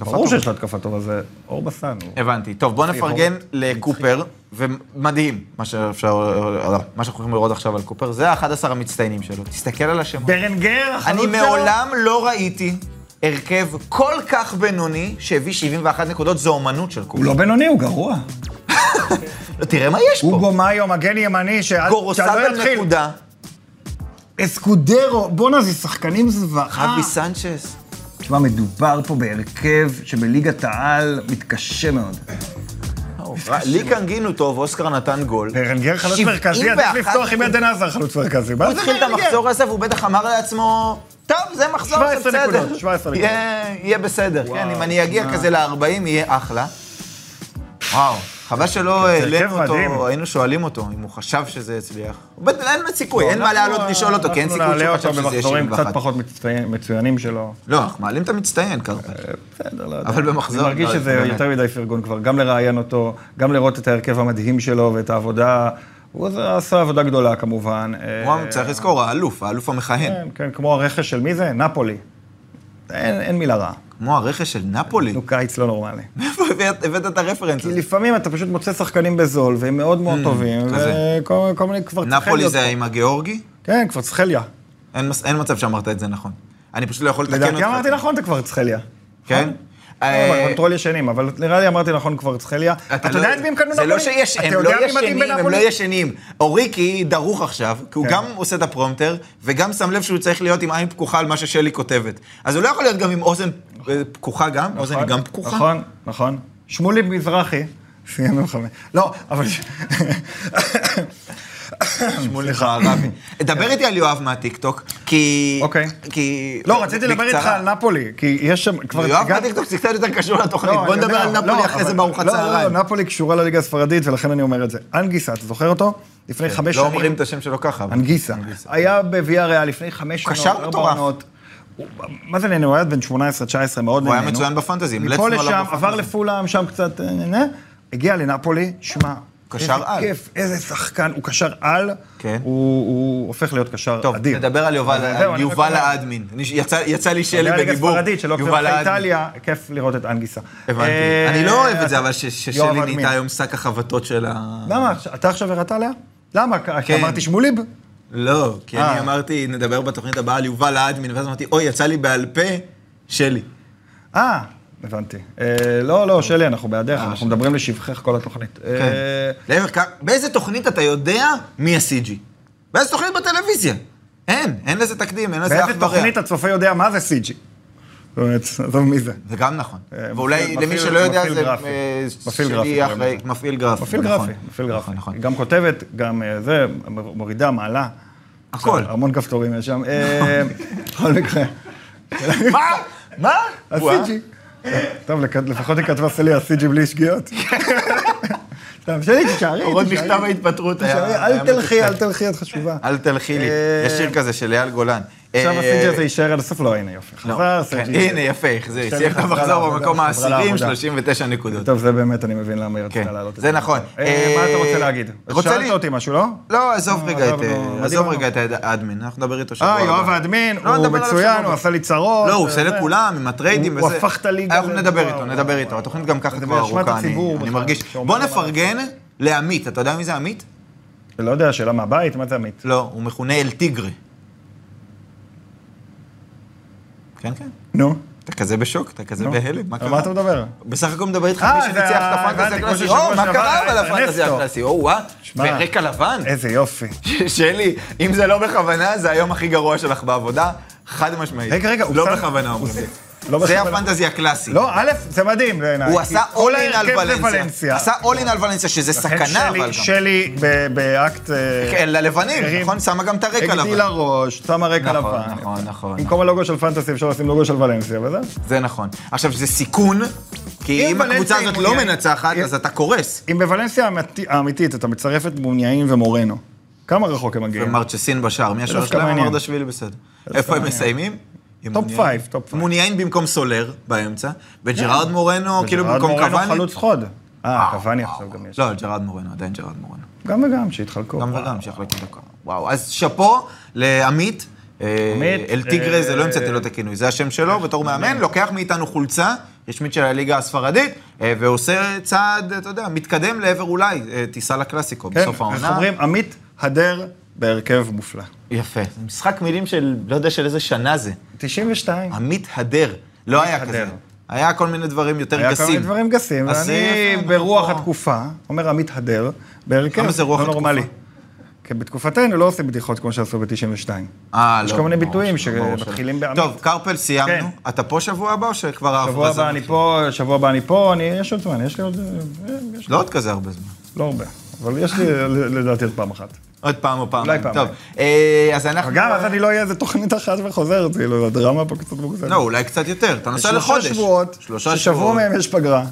[SPEAKER 1] ברור שיש לו התקפה טובה, זה אור בסן. הוא-
[SPEAKER 2] הבנתי. טוב, בואו נפרגן לקופר, ומדהים מה שאפשר, לא, מה שאנחנו הולכים לראות עכשיו על קופר, זה ה-11 המצטיינים שלו. תסתכל על השמות.
[SPEAKER 1] ברנגר, החלוץ
[SPEAKER 2] אני
[SPEAKER 1] שלו?
[SPEAKER 2] מעולם לא ראיתי הרכב כל כך בינוני שהביא 71 נקודות, זו אומנות של
[SPEAKER 1] הוא
[SPEAKER 2] קופר.
[SPEAKER 1] לא בינוני, הוא גרוע.
[SPEAKER 2] תראה מה יש פה.
[SPEAKER 1] אוגו מאיו, מגן ימני, שעד שעד
[SPEAKER 2] גורוסל
[SPEAKER 1] לא יתחיל.
[SPEAKER 2] נקודה,
[SPEAKER 1] אסקודרו, בואנה, זה שחקנים זוועה.
[SPEAKER 2] אבי סנצ'ס.
[SPEAKER 1] תשמע, מדובר פה בהרכב שבליגת העל מתקשה מאוד.
[SPEAKER 2] לי קנגינו טוב, אוסקר נתן גול.
[SPEAKER 1] ברנגר חלוץ מרכזי,
[SPEAKER 2] 71
[SPEAKER 1] עדיף לפתוח עם ידן עזר חלוץ מרכזי. מה
[SPEAKER 2] הוא
[SPEAKER 1] זה
[SPEAKER 2] התחיל את
[SPEAKER 1] ברנגר?
[SPEAKER 2] המחזור הזה, והוא בטח אמר לעצמו, טוב, זה מחזור, זה
[SPEAKER 1] 17 נקודות,
[SPEAKER 2] בסדר.
[SPEAKER 1] 17 נקודות.
[SPEAKER 2] יהיה- יהיה בסדר, כן, אם אני אגיע
[SPEAKER 1] מה.
[SPEAKER 2] כזה ל-40, יהיה אחלה. וואו, חבל שלא העלינו
[SPEAKER 1] מדהים.
[SPEAKER 2] אותו, היינו שואלים אותו אם הוא חשב שזה יצליח. הוא בטח- אין סיכוי, אין מה
[SPEAKER 1] אנחנו-
[SPEAKER 2] לעלות לשאול אותו, כי אין סיכוי שהוא חשב
[SPEAKER 1] אנחנו
[SPEAKER 2] שזה
[SPEAKER 1] נעלה
[SPEAKER 2] יהיה
[SPEAKER 1] אותו במחזורים
[SPEAKER 2] 71.
[SPEAKER 1] קצת פחות מצטי- מצוינים שלו.
[SPEAKER 2] לא, אנחנו מעלים את המצטיין, קרפל.
[SPEAKER 1] בסדר, לא יודע.
[SPEAKER 2] אבל במחזור,
[SPEAKER 1] אני מרגיש
[SPEAKER 2] לא,
[SPEAKER 1] שזה
[SPEAKER 2] באמת.
[SPEAKER 1] יותר מדי פרגון כבר, גם לראיין אותו, גם לראות את ההרכב המדהים שלו ואת העבודה. הוא עשה- עשה עבודה גדולה כמובן.
[SPEAKER 2] וואו,
[SPEAKER 1] אה,
[SPEAKER 2] צריך לזכור, האלוף, האלוף המכהן.
[SPEAKER 1] כן, כן, כמו הרכש של מי זה? נפולי. אין אין מילה רעה.
[SPEAKER 2] כמו הרכש של נפולי.
[SPEAKER 1] נו, קיץ לא נורמלי.
[SPEAKER 2] מאיפה הבאת- הבאת את הרפרנס
[SPEAKER 1] כי
[SPEAKER 2] הזה?
[SPEAKER 1] לפעמים אתה פשוט מוצא שחקנים בזול, והם מאוד מאוד טובים,
[SPEAKER 2] כזה.
[SPEAKER 1] וכל כל מיני כבר צריכים
[SPEAKER 2] Mm, נפולי
[SPEAKER 1] להיות
[SPEAKER 2] זה
[SPEAKER 1] פה.
[SPEAKER 2] עם הגיאורגי?
[SPEAKER 1] כן, כבר צחליה.
[SPEAKER 2] אין מס- אין מצב שאמרת את זה נכון. אני פשוט לא יכול לתקן אותך.
[SPEAKER 1] לדעתי אמרתי לא, נכון, אתה כבר צחליה.
[SPEAKER 2] כן? אה,
[SPEAKER 1] קונטרול ישנים, אבל נראה לי אמרתי נכון כבר צחליה. אתה
[SPEAKER 2] לא-
[SPEAKER 1] יודע את מי הם קנו
[SPEAKER 2] זה לא
[SPEAKER 1] נפולי?
[SPEAKER 2] שיש,
[SPEAKER 1] אתה
[SPEAKER 2] הם
[SPEAKER 1] יודע
[SPEAKER 2] לא
[SPEAKER 1] מי מתאים
[SPEAKER 2] ישנים, הם
[SPEAKER 1] בנפולי?
[SPEAKER 2] לא ישנים. אוריקי דרוך עכשיו, כי הוא
[SPEAKER 1] כן.
[SPEAKER 2] גם עושה את הפרומטר, וגם שם לב שהוא צריך להיות עם עין פקוחה על מה ששלי כותבת. אז הוא לא יכול להיות גם עם אוזן אה, פקוחה גם, אוזן היא
[SPEAKER 1] נכון,
[SPEAKER 2] גם פקוחה.
[SPEAKER 1] נכון, נכון. שמולי מזרחי, סיים עם חמש. לא, אבל...
[SPEAKER 2] סליחה, רבי. דבר איתי על יואב מהטיקטוק, כי...
[SPEAKER 1] כן. אוקיי.
[SPEAKER 2] כי...
[SPEAKER 1] לא, רציתי לדבר איתך
[SPEAKER 2] בקצרה. לא
[SPEAKER 1] על נפולי, כי יש שם... כבר
[SPEAKER 2] יואב
[SPEAKER 1] הגעתי-
[SPEAKER 2] מהטיקטוק זה קצת יותר קשור לתוכנית,
[SPEAKER 1] לא,
[SPEAKER 2] בוא
[SPEAKER 1] אני
[SPEAKER 2] נדבר
[SPEAKER 1] יודע,
[SPEAKER 2] על נפולי
[SPEAKER 1] לא,
[SPEAKER 2] אחרי זה
[SPEAKER 1] אבל-
[SPEAKER 2] בארוחת
[SPEAKER 1] לא,
[SPEAKER 2] צהריים.
[SPEAKER 1] לא, לא, נפולי קשורה לליגה הספרדית, ולכן אני אומר את זה. אנגיסה, אתה זוכר אותו? לפני חמש
[SPEAKER 2] לא
[SPEAKER 1] שנים.
[SPEAKER 2] אומרים את השם שלו ככה. אבל-
[SPEAKER 1] אנגיסה. היה בוויה ריאל לפני חמש
[SPEAKER 2] הוא
[SPEAKER 1] שנות, לא
[SPEAKER 2] קשר מטורף.
[SPEAKER 1] הוא- מה זה נהנה? הוא היה בן 18-19, מאוד
[SPEAKER 2] הוא
[SPEAKER 1] נהנה.
[SPEAKER 2] היה מצוין לא בפנטזי, המלצנו
[SPEAKER 1] מפה
[SPEAKER 2] עליו
[SPEAKER 1] לשם,
[SPEAKER 2] בפנטזי.
[SPEAKER 1] עבר לפולאם, שם קצת... אה, אה, אה, הגיע לנפולי, שמע.
[SPEAKER 2] קשר
[SPEAKER 1] איזה
[SPEAKER 2] על.
[SPEAKER 1] כיף, איזה שחקן, הוא קשר על,
[SPEAKER 2] כן.
[SPEAKER 1] הוא הוא הופך להיות קשר
[SPEAKER 2] טוב,
[SPEAKER 1] אדיר.
[SPEAKER 2] נדבר על יובל,
[SPEAKER 1] אז
[SPEAKER 2] על
[SPEAKER 1] זהו, אני
[SPEAKER 2] יובל
[SPEAKER 1] מקווה.
[SPEAKER 2] האדמין. אני- יצא- יצא לי שלי
[SPEAKER 1] הליגה
[SPEAKER 2] בדיבור.
[SPEAKER 1] הספרדית שלא קצת
[SPEAKER 2] יובל האדמין.
[SPEAKER 1] איטליה, כיף לראות את אנגיסה.
[SPEAKER 2] הבנתי.
[SPEAKER 1] אה,
[SPEAKER 2] אני לא אוהב את זה, אבל ש- ששלי
[SPEAKER 1] יואב אדמין.
[SPEAKER 2] נהייתה היום שק החבטות של ה...
[SPEAKER 1] למה? אתה עכשיו הראת עליה? למה? כי
[SPEAKER 2] כן.
[SPEAKER 1] אמרתי שמוליב?
[SPEAKER 2] לא, כי
[SPEAKER 1] אה.
[SPEAKER 2] אני אמרתי, נדבר בתוכנית הבאה על יובל האדמין, ואז אמרתי, אוי, יצא לי בעל פה, שלי.
[SPEAKER 1] אה, הבנתי. אה, לא, לא, שלי, אנחנו בעדך, אנחנו מדברים לשבחך כל התוכנית.
[SPEAKER 2] אה, כן.
[SPEAKER 1] אה,
[SPEAKER 2] להפך, כ- באיזה תוכנית אתה יודע מי ה-CG? באיזה תוכנית בטלוויזיה? אין, אין לזה תקדים, אין לזה אח
[SPEAKER 1] באיזה
[SPEAKER 2] ורע.
[SPEAKER 1] תוכנית הצופה יודע מה זה CG? זאת אומרת, עזוב מי זה.
[SPEAKER 2] זה גם נכון.
[SPEAKER 1] אה,
[SPEAKER 2] ואולי
[SPEAKER 1] מפעיל-
[SPEAKER 2] למי
[SPEAKER 1] מפעיל-
[SPEAKER 2] שלא יודע,
[SPEAKER 1] מפעיל
[SPEAKER 2] זה...
[SPEAKER 1] גרפי.
[SPEAKER 2] אה,
[SPEAKER 1] מפעיל
[SPEAKER 2] שלי
[SPEAKER 1] גרפי קוראים
[SPEAKER 2] אחרי-
[SPEAKER 1] לזה.
[SPEAKER 2] מפעיל גרפי.
[SPEAKER 1] מפעיל
[SPEAKER 2] נכון.
[SPEAKER 1] גרפי, מפעיל גרפי.
[SPEAKER 2] נכון, נכון.
[SPEAKER 1] גם כותבת, גם אה, זה, מורידה, מעלה.
[SPEAKER 2] הכל. נכון.
[SPEAKER 1] המון כפתורים יש שם. אה, בכל מקרה.
[SPEAKER 2] מה? מה?
[SPEAKER 1] ה-CG. טוב, לכ- לפחות היא כתבה סלי ה-CG בלי שגיאות. טוב, שלי, תישארי.
[SPEAKER 2] כן. עוד
[SPEAKER 1] תישארי.
[SPEAKER 2] מכתב ההתפטרות היה...
[SPEAKER 1] תישארי,
[SPEAKER 2] היה
[SPEAKER 1] אל תלכי,
[SPEAKER 2] מתוסכל.
[SPEAKER 1] אל תלכי, את חשובה.
[SPEAKER 2] אל תלכי לי.
[SPEAKER 1] אה,
[SPEAKER 2] יש שיר כזה של אייל גולן.
[SPEAKER 1] עכשיו
[SPEAKER 2] אה,
[SPEAKER 1] הסינג'ר הזה יישאר עד הסוף, לא, הנה יופי.
[SPEAKER 2] לא,
[SPEAKER 1] חזר,
[SPEAKER 2] כן,
[SPEAKER 1] הסינג'ר.
[SPEAKER 2] הנה, יפה, זה
[SPEAKER 1] השם
[SPEAKER 2] הצליח את
[SPEAKER 1] חזרה
[SPEAKER 2] המחזור
[SPEAKER 1] לעבודה,
[SPEAKER 2] במקום
[SPEAKER 1] חזרה
[SPEAKER 2] העשירים,
[SPEAKER 1] לעבודה.
[SPEAKER 2] 39 נקודות.
[SPEAKER 1] טוב, זה באמת, אני מבין למה היא רצתה
[SPEAKER 2] כן,
[SPEAKER 1] לעלות את
[SPEAKER 2] זה נכון.
[SPEAKER 1] אה, מה
[SPEAKER 2] אה,
[SPEAKER 1] אתה רוצה להגיד?
[SPEAKER 2] רוצה לי-
[SPEAKER 1] שאלת אותי משהו, לא?
[SPEAKER 2] לא, עזוב
[SPEAKER 1] אה,
[SPEAKER 2] רגע את...
[SPEAKER 1] עזבנו,
[SPEAKER 2] אה,
[SPEAKER 1] מה
[SPEAKER 2] עזוב
[SPEAKER 1] דיברנו?
[SPEAKER 2] רגע את האדמין, אנחנו נדבר איתו שבוע
[SPEAKER 1] אה,
[SPEAKER 2] הבא.
[SPEAKER 1] יואב האדמין,
[SPEAKER 2] לא,
[SPEAKER 1] הוא
[SPEAKER 2] נדבר עליו
[SPEAKER 1] מצוין,
[SPEAKER 2] שבוע
[SPEAKER 1] הוא
[SPEAKER 2] הבא.
[SPEAKER 1] עשה לי צרות.
[SPEAKER 2] לא, הוא עושה
[SPEAKER 1] וזה.
[SPEAKER 2] לכולם, עם הטריידים
[SPEAKER 1] הוא
[SPEAKER 2] וזה.
[SPEAKER 1] הפך את הליגה
[SPEAKER 2] אנחנו
[SPEAKER 1] ל-
[SPEAKER 2] נדבר איתו,
[SPEAKER 1] וואו,
[SPEAKER 2] נדבר
[SPEAKER 1] וואו,
[SPEAKER 2] איתו.
[SPEAKER 1] וואו.
[SPEAKER 2] התוכנית גם ככה
[SPEAKER 1] זה
[SPEAKER 2] כבר
[SPEAKER 1] באשמת
[SPEAKER 2] ארוכה, אני-
[SPEAKER 1] הציבור
[SPEAKER 2] אני
[SPEAKER 1] בכלל,
[SPEAKER 2] מרגיש.
[SPEAKER 1] שאומרים
[SPEAKER 2] בוא
[SPEAKER 1] מה
[SPEAKER 2] נפרגן לעמית, אתה יודע מי זה עמית?
[SPEAKER 1] לא יודע, שאלה מהבית, מה זה עמית?
[SPEAKER 2] לא, הוא מכונה אל טיגרי. כן, כן.
[SPEAKER 1] נו,
[SPEAKER 2] אתה כזה בשוק, אתה כזה
[SPEAKER 1] נו.
[SPEAKER 2] בהלם, מה
[SPEAKER 1] על מה
[SPEAKER 2] קרה?
[SPEAKER 1] אתה מדבר?
[SPEAKER 2] בסך הכל מדבר איתך
[SPEAKER 1] אה,
[SPEAKER 2] מי
[SPEAKER 1] זה
[SPEAKER 2] שניצח
[SPEAKER 1] ה-
[SPEAKER 2] את הפנטזי
[SPEAKER 1] הבנתי, כמו
[SPEAKER 2] הקלאסי.
[SPEAKER 1] ששבוע
[SPEAKER 2] או, מה
[SPEAKER 1] שעבר
[SPEAKER 2] קרה
[SPEAKER 1] היה
[SPEAKER 2] אבל הפנטזי
[SPEAKER 1] ארנסטו.
[SPEAKER 2] הקלאסי? או, וואה,
[SPEAKER 1] שמע. אה,
[SPEAKER 2] ברקע לבן.
[SPEAKER 1] איזה יופי.
[SPEAKER 2] שלי, אם זה לא בכוונה, זה היום הכי גרוע שלך בעבודה, חד משמעית.
[SPEAKER 1] רגע, רגע, הוא
[SPEAKER 2] לא
[SPEAKER 1] שם-
[SPEAKER 2] בכוונה
[SPEAKER 1] הוא
[SPEAKER 2] אומרים לי.
[SPEAKER 1] שם- לא
[SPEAKER 2] זה
[SPEAKER 1] בכוונה.
[SPEAKER 2] הפנטזי הקלאסי.
[SPEAKER 1] לא, א', זה מדהים בעיניי.
[SPEAKER 2] הוא
[SPEAKER 1] אה, כי
[SPEAKER 2] עשה
[SPEAKER 1] כל
[SPEAKER 2] אולין על
[SPEAKER 1] ההרכב זה
[SPEAKER 2] ולנסיה. עשה אולין על ולנסיה, שזה
[SPEAKER 1] לכן
[SPEAKER 2] סכנה, אבל
[SPEAKER 1] שלי-
[SPEAKER 2] גם.
[SPEAKER 1] שלי ב- באקט... אה,
[SPEAKER 2] כן, ללבנים,
[SPEAKER 1] הרים-
[SPEAKER 2] נכון? שמה גם את הרקע לבן.
[SPEAKER 1] הגדילה ראש, שמה רקע
[SPEAKER 2] נכון,
[SPEAKER 1] לבן.
[SPEAKER 2] נכון, נכון.
[SPEAKER 1] במקום הלוגו של פנטסי אפשר לשים לוגו של ולנסיה, וזהו.
[SPEAKER 2] זה נכון. עכשיו, זה סיכון, כי
[SPEAKER 1] אם
[SPEAKER 2] אם הקבוצה
[SPEAKER 1] ולנסיה
[SPEAKER 2] הזאת
[SPEAKER 1] היא
[SPEAKER 2] לא
[SPEAKER 1] מעוניינת-
[SPEAKER 2] מנצחת,
[SPEAKER 1] אם-
[SPEAKER 2] אז אתה קורס.
[SPEAKER 1] אם בוולנסיה האמיתי- האמיתית אתה מצרף את מוניאין ומורנו, כמה רחוק הם מגיעים?
[SPEAKER 2] ומרצ'סין בשער, מי השוער
[SPEAKER 1] דווקא
[SPEAKER 2] שלהם?
[SPEAKER 1] מעניין.
[SPEAKER 2] אמרדשווילי בסדר.
[SPEAKER 1] דווקא
[SPEAKER 2] איפה הם
[SPEAKER 1] מעניין.
[SPEAKER 2] מסיימים? עם
[SPEAKER 1] טופ
[SPEAKER 2] מוניאין.
[SPEAKER 1] פייב, טופ פייב.
[SPEAKER 2] מוניאין במקום סולר באמצע, וג'רארד מורנו כאילו
[SPEAKER 1] וג'רד
[SPEAKER 2] במקום
[SPEAKER 1] מורנו
[SPEAKER 2] קוואני.
[SPEAKER 1] חלוץ חוד. אה, קוואני עכשיו גם יש.
[SPEAKER 2] לא, ג'רארד מורנו, עדיין ג'רארד מורנו.
[SPEAKER 1] גם וגם, שיתחלקו.
[SPEAKER 2] גם וגם, שיחלקו דקה. וואו, אז שאפו לעמית. אה,
[SPEAKER 1] עמית,
[SPEAKER 2] אל טיגרי, זה לא
[SPEAKER 1] אה,
[SPEAKER 2] המצאתי לו את הכינוי, זה השם שלו, בתור מאמן, לוקח מאיתנו חולצה רשמית של הליגה הספרדית, אה, ועושה צעד, אתה יודע, מתקדם לעבר אולי אה, טיסה לקלאסיקו
[SPEAKER 1] כן,
[SPEAKER 2] בסוף
[SPEAKER 1] איך
[SPEAKER 2] העונה.
[SPEAKER 1] אומרים? עמית הדר בהרכב מופלא.
[SPEAKER 2] יפה. זה משחק מילים של, לא יודע של איזה שנה זה.
[SPEAKER 1] 92.
[SPEAKER 2] עמית הדר. לא היה
[SPEAKER 1] הדר.
[SPEAKER 2] כזה. היה כל מיני דברים יותר
[SPEAKER 1] היה
[SPEAKER 2] גסים.
[SPEAKER 1] כל מיני דברים גסים,
[SPEAKER 2] אז
[SPEAKER 1] ואני
[SPEAKER 2] יפה,
[SPEAKER 1] ברוח
[SPEAKER 2] אנחנו-
[SPEAKER 1] התקופה, אומר עמית הדר, בהרכב
[SPEAKER 2] למה זה רוח
[SPEAKER 1] לא
[SPEAKER 2] התקופה?
[SPEAKER 1] נורמלי. כי בתקופתנו לא עושים בדיחות כמו שעשו ב-92.
[SPEAKER 2] אה,
[SPEAKER 1] יש
[SPEAKER 2] לא,
[SPEAKER 1] כל מיני
[SPEAKER 2] ברור
[SPEAKER 1] ביטויים
[SPEAKER 2] שלא, ברור שלא.
[SPEAKER 1] שמתחילים בעמית.
[SPEAKER 2] טוב, קרפל
[SPEAKER 1] כן.
[SPEAKER 2] סיימנו. אתה פה שבוע הבא או שכבר
[SPEAKER 1] שבוע
[SPEAKER 2] ההפרזה?
[SPEAKER 1] הבא אני
[SPEAKER 2] מתחילה?
[SPEAKER 1] פה, שבוע הבא אני פה, אני, יש עוד זמן, יש לי עוד... אה, יש לי
[SPEAKER 2] לא עוד כזה הרבה זמן.
[SPEAKER 1] לא הרבה, אבל יש לי לדעתי עוד פעם אחת.
[SPEAKER 2] עוד פעם או פעמיים.
[SPEAKER 1] פעמיים.
[SPEAKER 2] טוב, אה, אז אנחנו...
[SPEAKER 1] אבל גם אז אני לא אהיה איזה תוכנית אחת וחוזרת, כאילו, הדרמה פה קצת מוגזמת.
[SPEAKER 2] לא, אולי קצת יותר. אתה נוסע לחודש.
[SPEAKER 1] שלושה שבועות,
[SPEAKER 2] שלושה
[SPEAKER 1] ששבוע
[SPEAKER 2] שבועות.
[SPEAKER 1] מהם יש פגרה.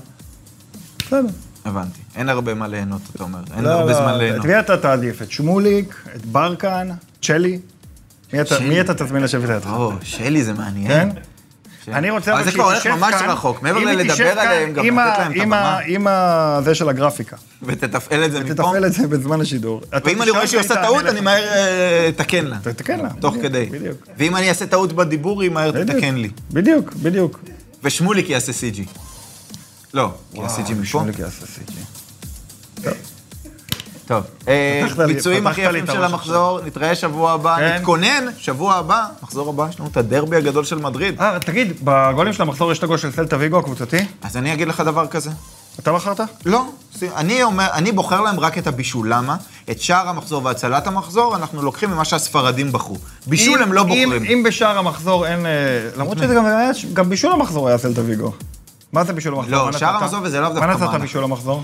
[SPEAKER 1] בסדר.
[SPEAKER 2] הבנתי. אין הרבה מה ליהנות, אתה אומר. אין
[SPEAKER 1] לא,
[SPEAKER 2] הרבה
[SPEAKER 1] לא,
[SPEAKER 2] זמן ליהנות.
[SPEAKER 1] את מי אתה תעדיף? את שמוליק? את ברקן? צ'לי? מי אתה-
[SPEAKER 2] צ'לי.
[SPEAKER 1] מי אתה תזמין לשבת לידך?
[SPEAKER 2] או, שלי זה מעניין.
[SPEAKER 1] כן?
[SPEAKER 2] שלי.
[SPEAKER 1] אני רוצה אבל
[SPEAKER 2] אבל זה
[SPEAKER 1] שהיא
[SPEAKER 2] כבר הולך
[SPEAKER 1] תשב
[SPEAKER 2] ממש
[SPEAKER 1] כאן,
[SPEAKER 2] רחוק. מעבר
[SPEAKER 1] אם היא
[SPEAKER 2] ללדבר
[SPEAKER 1] תשב כאן
[SPEAKER 2] עליהם, גם
[SPEAKER 1] עם
[SPEAKER 2] לתת
[SPEAKER 1] ה-
[SPEAKER 2] להם את
[SPEAKER 1] עם ה-
[SPEAKER 2] הבמה.
[SPEAKER 1] עם ה- זה של הגרפיקה.
[SPEAKER 2] ותתפעל את זה מפה.
[SPEAKER 1] תתפעל את זה בזמן השידור. אתה
[SPEAKER 2] ואם אני
[SPEAKER 1] תשאל
[SPEAKER 2] רואה שהיא
[SPEAKER 1] והיא
[SPEAKER 2] עושה
[SPEAKER 1] תענה
[SPEAKER 2] טעות,
[SPEAKER 1] לך.
[SPEAKER 2] אני מהר אה, אתקן לה.
[SPEAKER 1] תתקן לה.
[SPEAKER 2] תוך
[SPEAKER 1] בדיוק,
[SPEAKER 2] כדי.
[SPEAKER 1] בדיוק.
[SPEAKER 2] ואם אני אעשה טעות בדיבור, היא מהר
[SPEAKER 1] בדיוק.
[SPEAKER 2] תתקן לי.
[SPEAKER 1] בדיוק, בדיוק.
[SPEAKER 2] ושמוליק יעשה CG. לא, כי ה-CG מפה.
[SPEAKER 1] שמוליק יעשה סיג'י.
[SPEAKER 2] טוב. אה,
[SPEAKER 1] פתחת לי-
[SPEAKER 2] ביצועים הכי
[SPEAKER 1] פתחת לי
[SPEAKER 2] יפים
[SPEAKER 1] את
[SPEAKER 2] של
[SPEAKER 1] הראש
[SPEAKER 2] המחזור, נתראה שבוע הבא.
[SPEAKER 1] כן.
[SPEAKER 2] נתכונן, שבוע הבא, מחזור הבא, יש לנו את הדרבי הגדול של מדריד.
[SPEAKER 1] אה, תגיד, בגולים של המחזור יש את הגול של סלטה ויגו הקבוצתי?
[SPEAKER 2] אז אני אגיד לך דבר כזה.
[SPEAKER 1] אתה בחרת?
[SPEAKER 2] לא, אני, אומר, אני בוחר להם רק את הבישול. למה? את שער המחזור והצלת המחזור, אנחנו לוקחים ממה שהספרדים בחרו. בישול
[SPEAKER 1] אם-
[SPEAKER 2] הם לא
[SPEAKER 1] אם-
[SPEAKER 2] בוחרים.
[SPEAKER 1] אם בשער המחזור אין... אה, למרות שזה גם היה... גם בישול המחזור היה סלטה ויגו. מה זה בישול המחזור?
[SPEAKER 2] לא,
[SPEAKER 1] מה
[SPEAKER 2] שער
[SPEAKER 1] נתת?
[SPEAKER 2] המחזור וזה לאו דווקא
[SPEAKER 1] מה
[SPEAKER 2] מענק.
[SPEAKER 1] נתת בישול המחזור?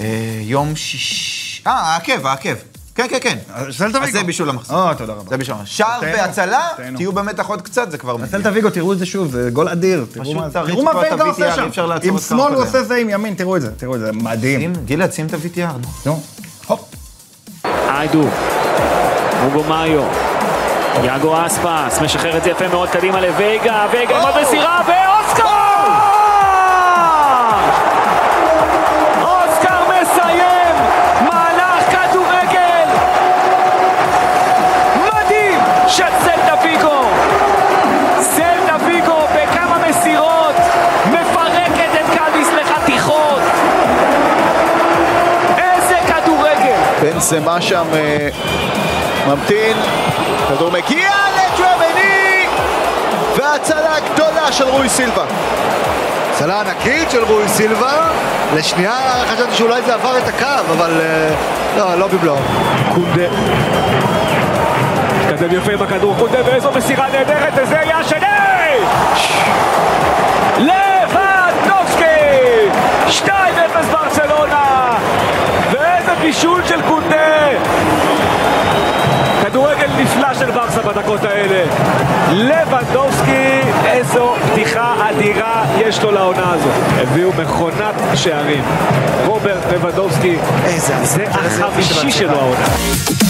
[SPEAKER 2] אה, יום שיש... אה, העקב, העקב. כן, כן, כן.
[SPEAKER 1] אז אה, סלטה ויגו.
[SPEAKER 2] אז זה בישול המחזור.
[SPEAKER 1] אה, תודה רבה.
[SPEAKER 2] זה בשער. שער
[SPEAKER 1] תהנו,
[SPEAKER 2] והצלה,
[SPEAKER 1] תהנו.
[SPEAKER 2] תהיו במתח עוד קצת, זה כבר מגיע.
[SPEAKER 1] סלטה ויגו, תראו את זה שוב, זה גול אדיר. תראו
[SPEAKER 2] פשוט
[SPEAKER 1] מה זה.
[SPEAKER 2] תריץ
[SPEAKER 1] תראו מה
[SPEAKER 2] פה,
[SPEAKER 1] ויגו
[SPEAKER 2] תביא תייר,
[SPEAKER 1] עושה
[SPEAKER 2] אי אפשר
[SPEAKER 1] שם.
[SPEAKER 2] לעצור
[SPEAKER 1] עם
[SPEAKER 2] את
[SPEAKER 1] שמאל
[SPEAKER 2] קרפלר.
[SPEAKER 1] הוא עושה זה, עם ימין, תראו את זה. תראו את זה, מדהים.
[SPEAKER 2] שים- גילה, שים את ה-VTR. נו.
[SPEAKER 1] נו, הופ.
[SPEAKER 3] איידו, אוגו מאיו, יאגו אספס, משחרר את זה יפה מאוד קדימה לוויגה, וייגה עם עוד מסירה, ואוסקר! אוסקר מסיים! מהלך כדורגל! מדהים של סלטה ויגו! סלטה ויגו בכמה מסירות מפרקת את קאדיס לחתיכות! איזה כדורגל!
[SPEAKER 4] בנזמה שם אה, ממתין, כדור מגיע לטרמני וההצלה הגדולה של רוי סילבה. הצלה ענקית של רוי סילבה, לשנייה חשבתי שאולי זה עבר את הקו, אבל אה, לא, לא במלואו.
[SPEAKER 3] קונדה. מתקדם יפה עם הכדור, קונדה ואיזו מסירה נהדרת, וזה יהיה השני! לבנדובסקי! 2-0 ברצלונה! ואיזה בישול של קונדה! כדורגל נפלא של ברסה בדקות האלה. לבנדובסקי, איזו פתיחה אדירה יש לו לעונה הזו. הביאו מכונת שערים. רוברט לבנדובסקי,
[SPEAKER 4] איזה
[SPEAKER 3] זה
[SPEAKER 4] איזה יופי של
[SPEAKER 3] החמישי
[SPEAKER 4] עצירה.
[SPEAKER 3] שלו העונה.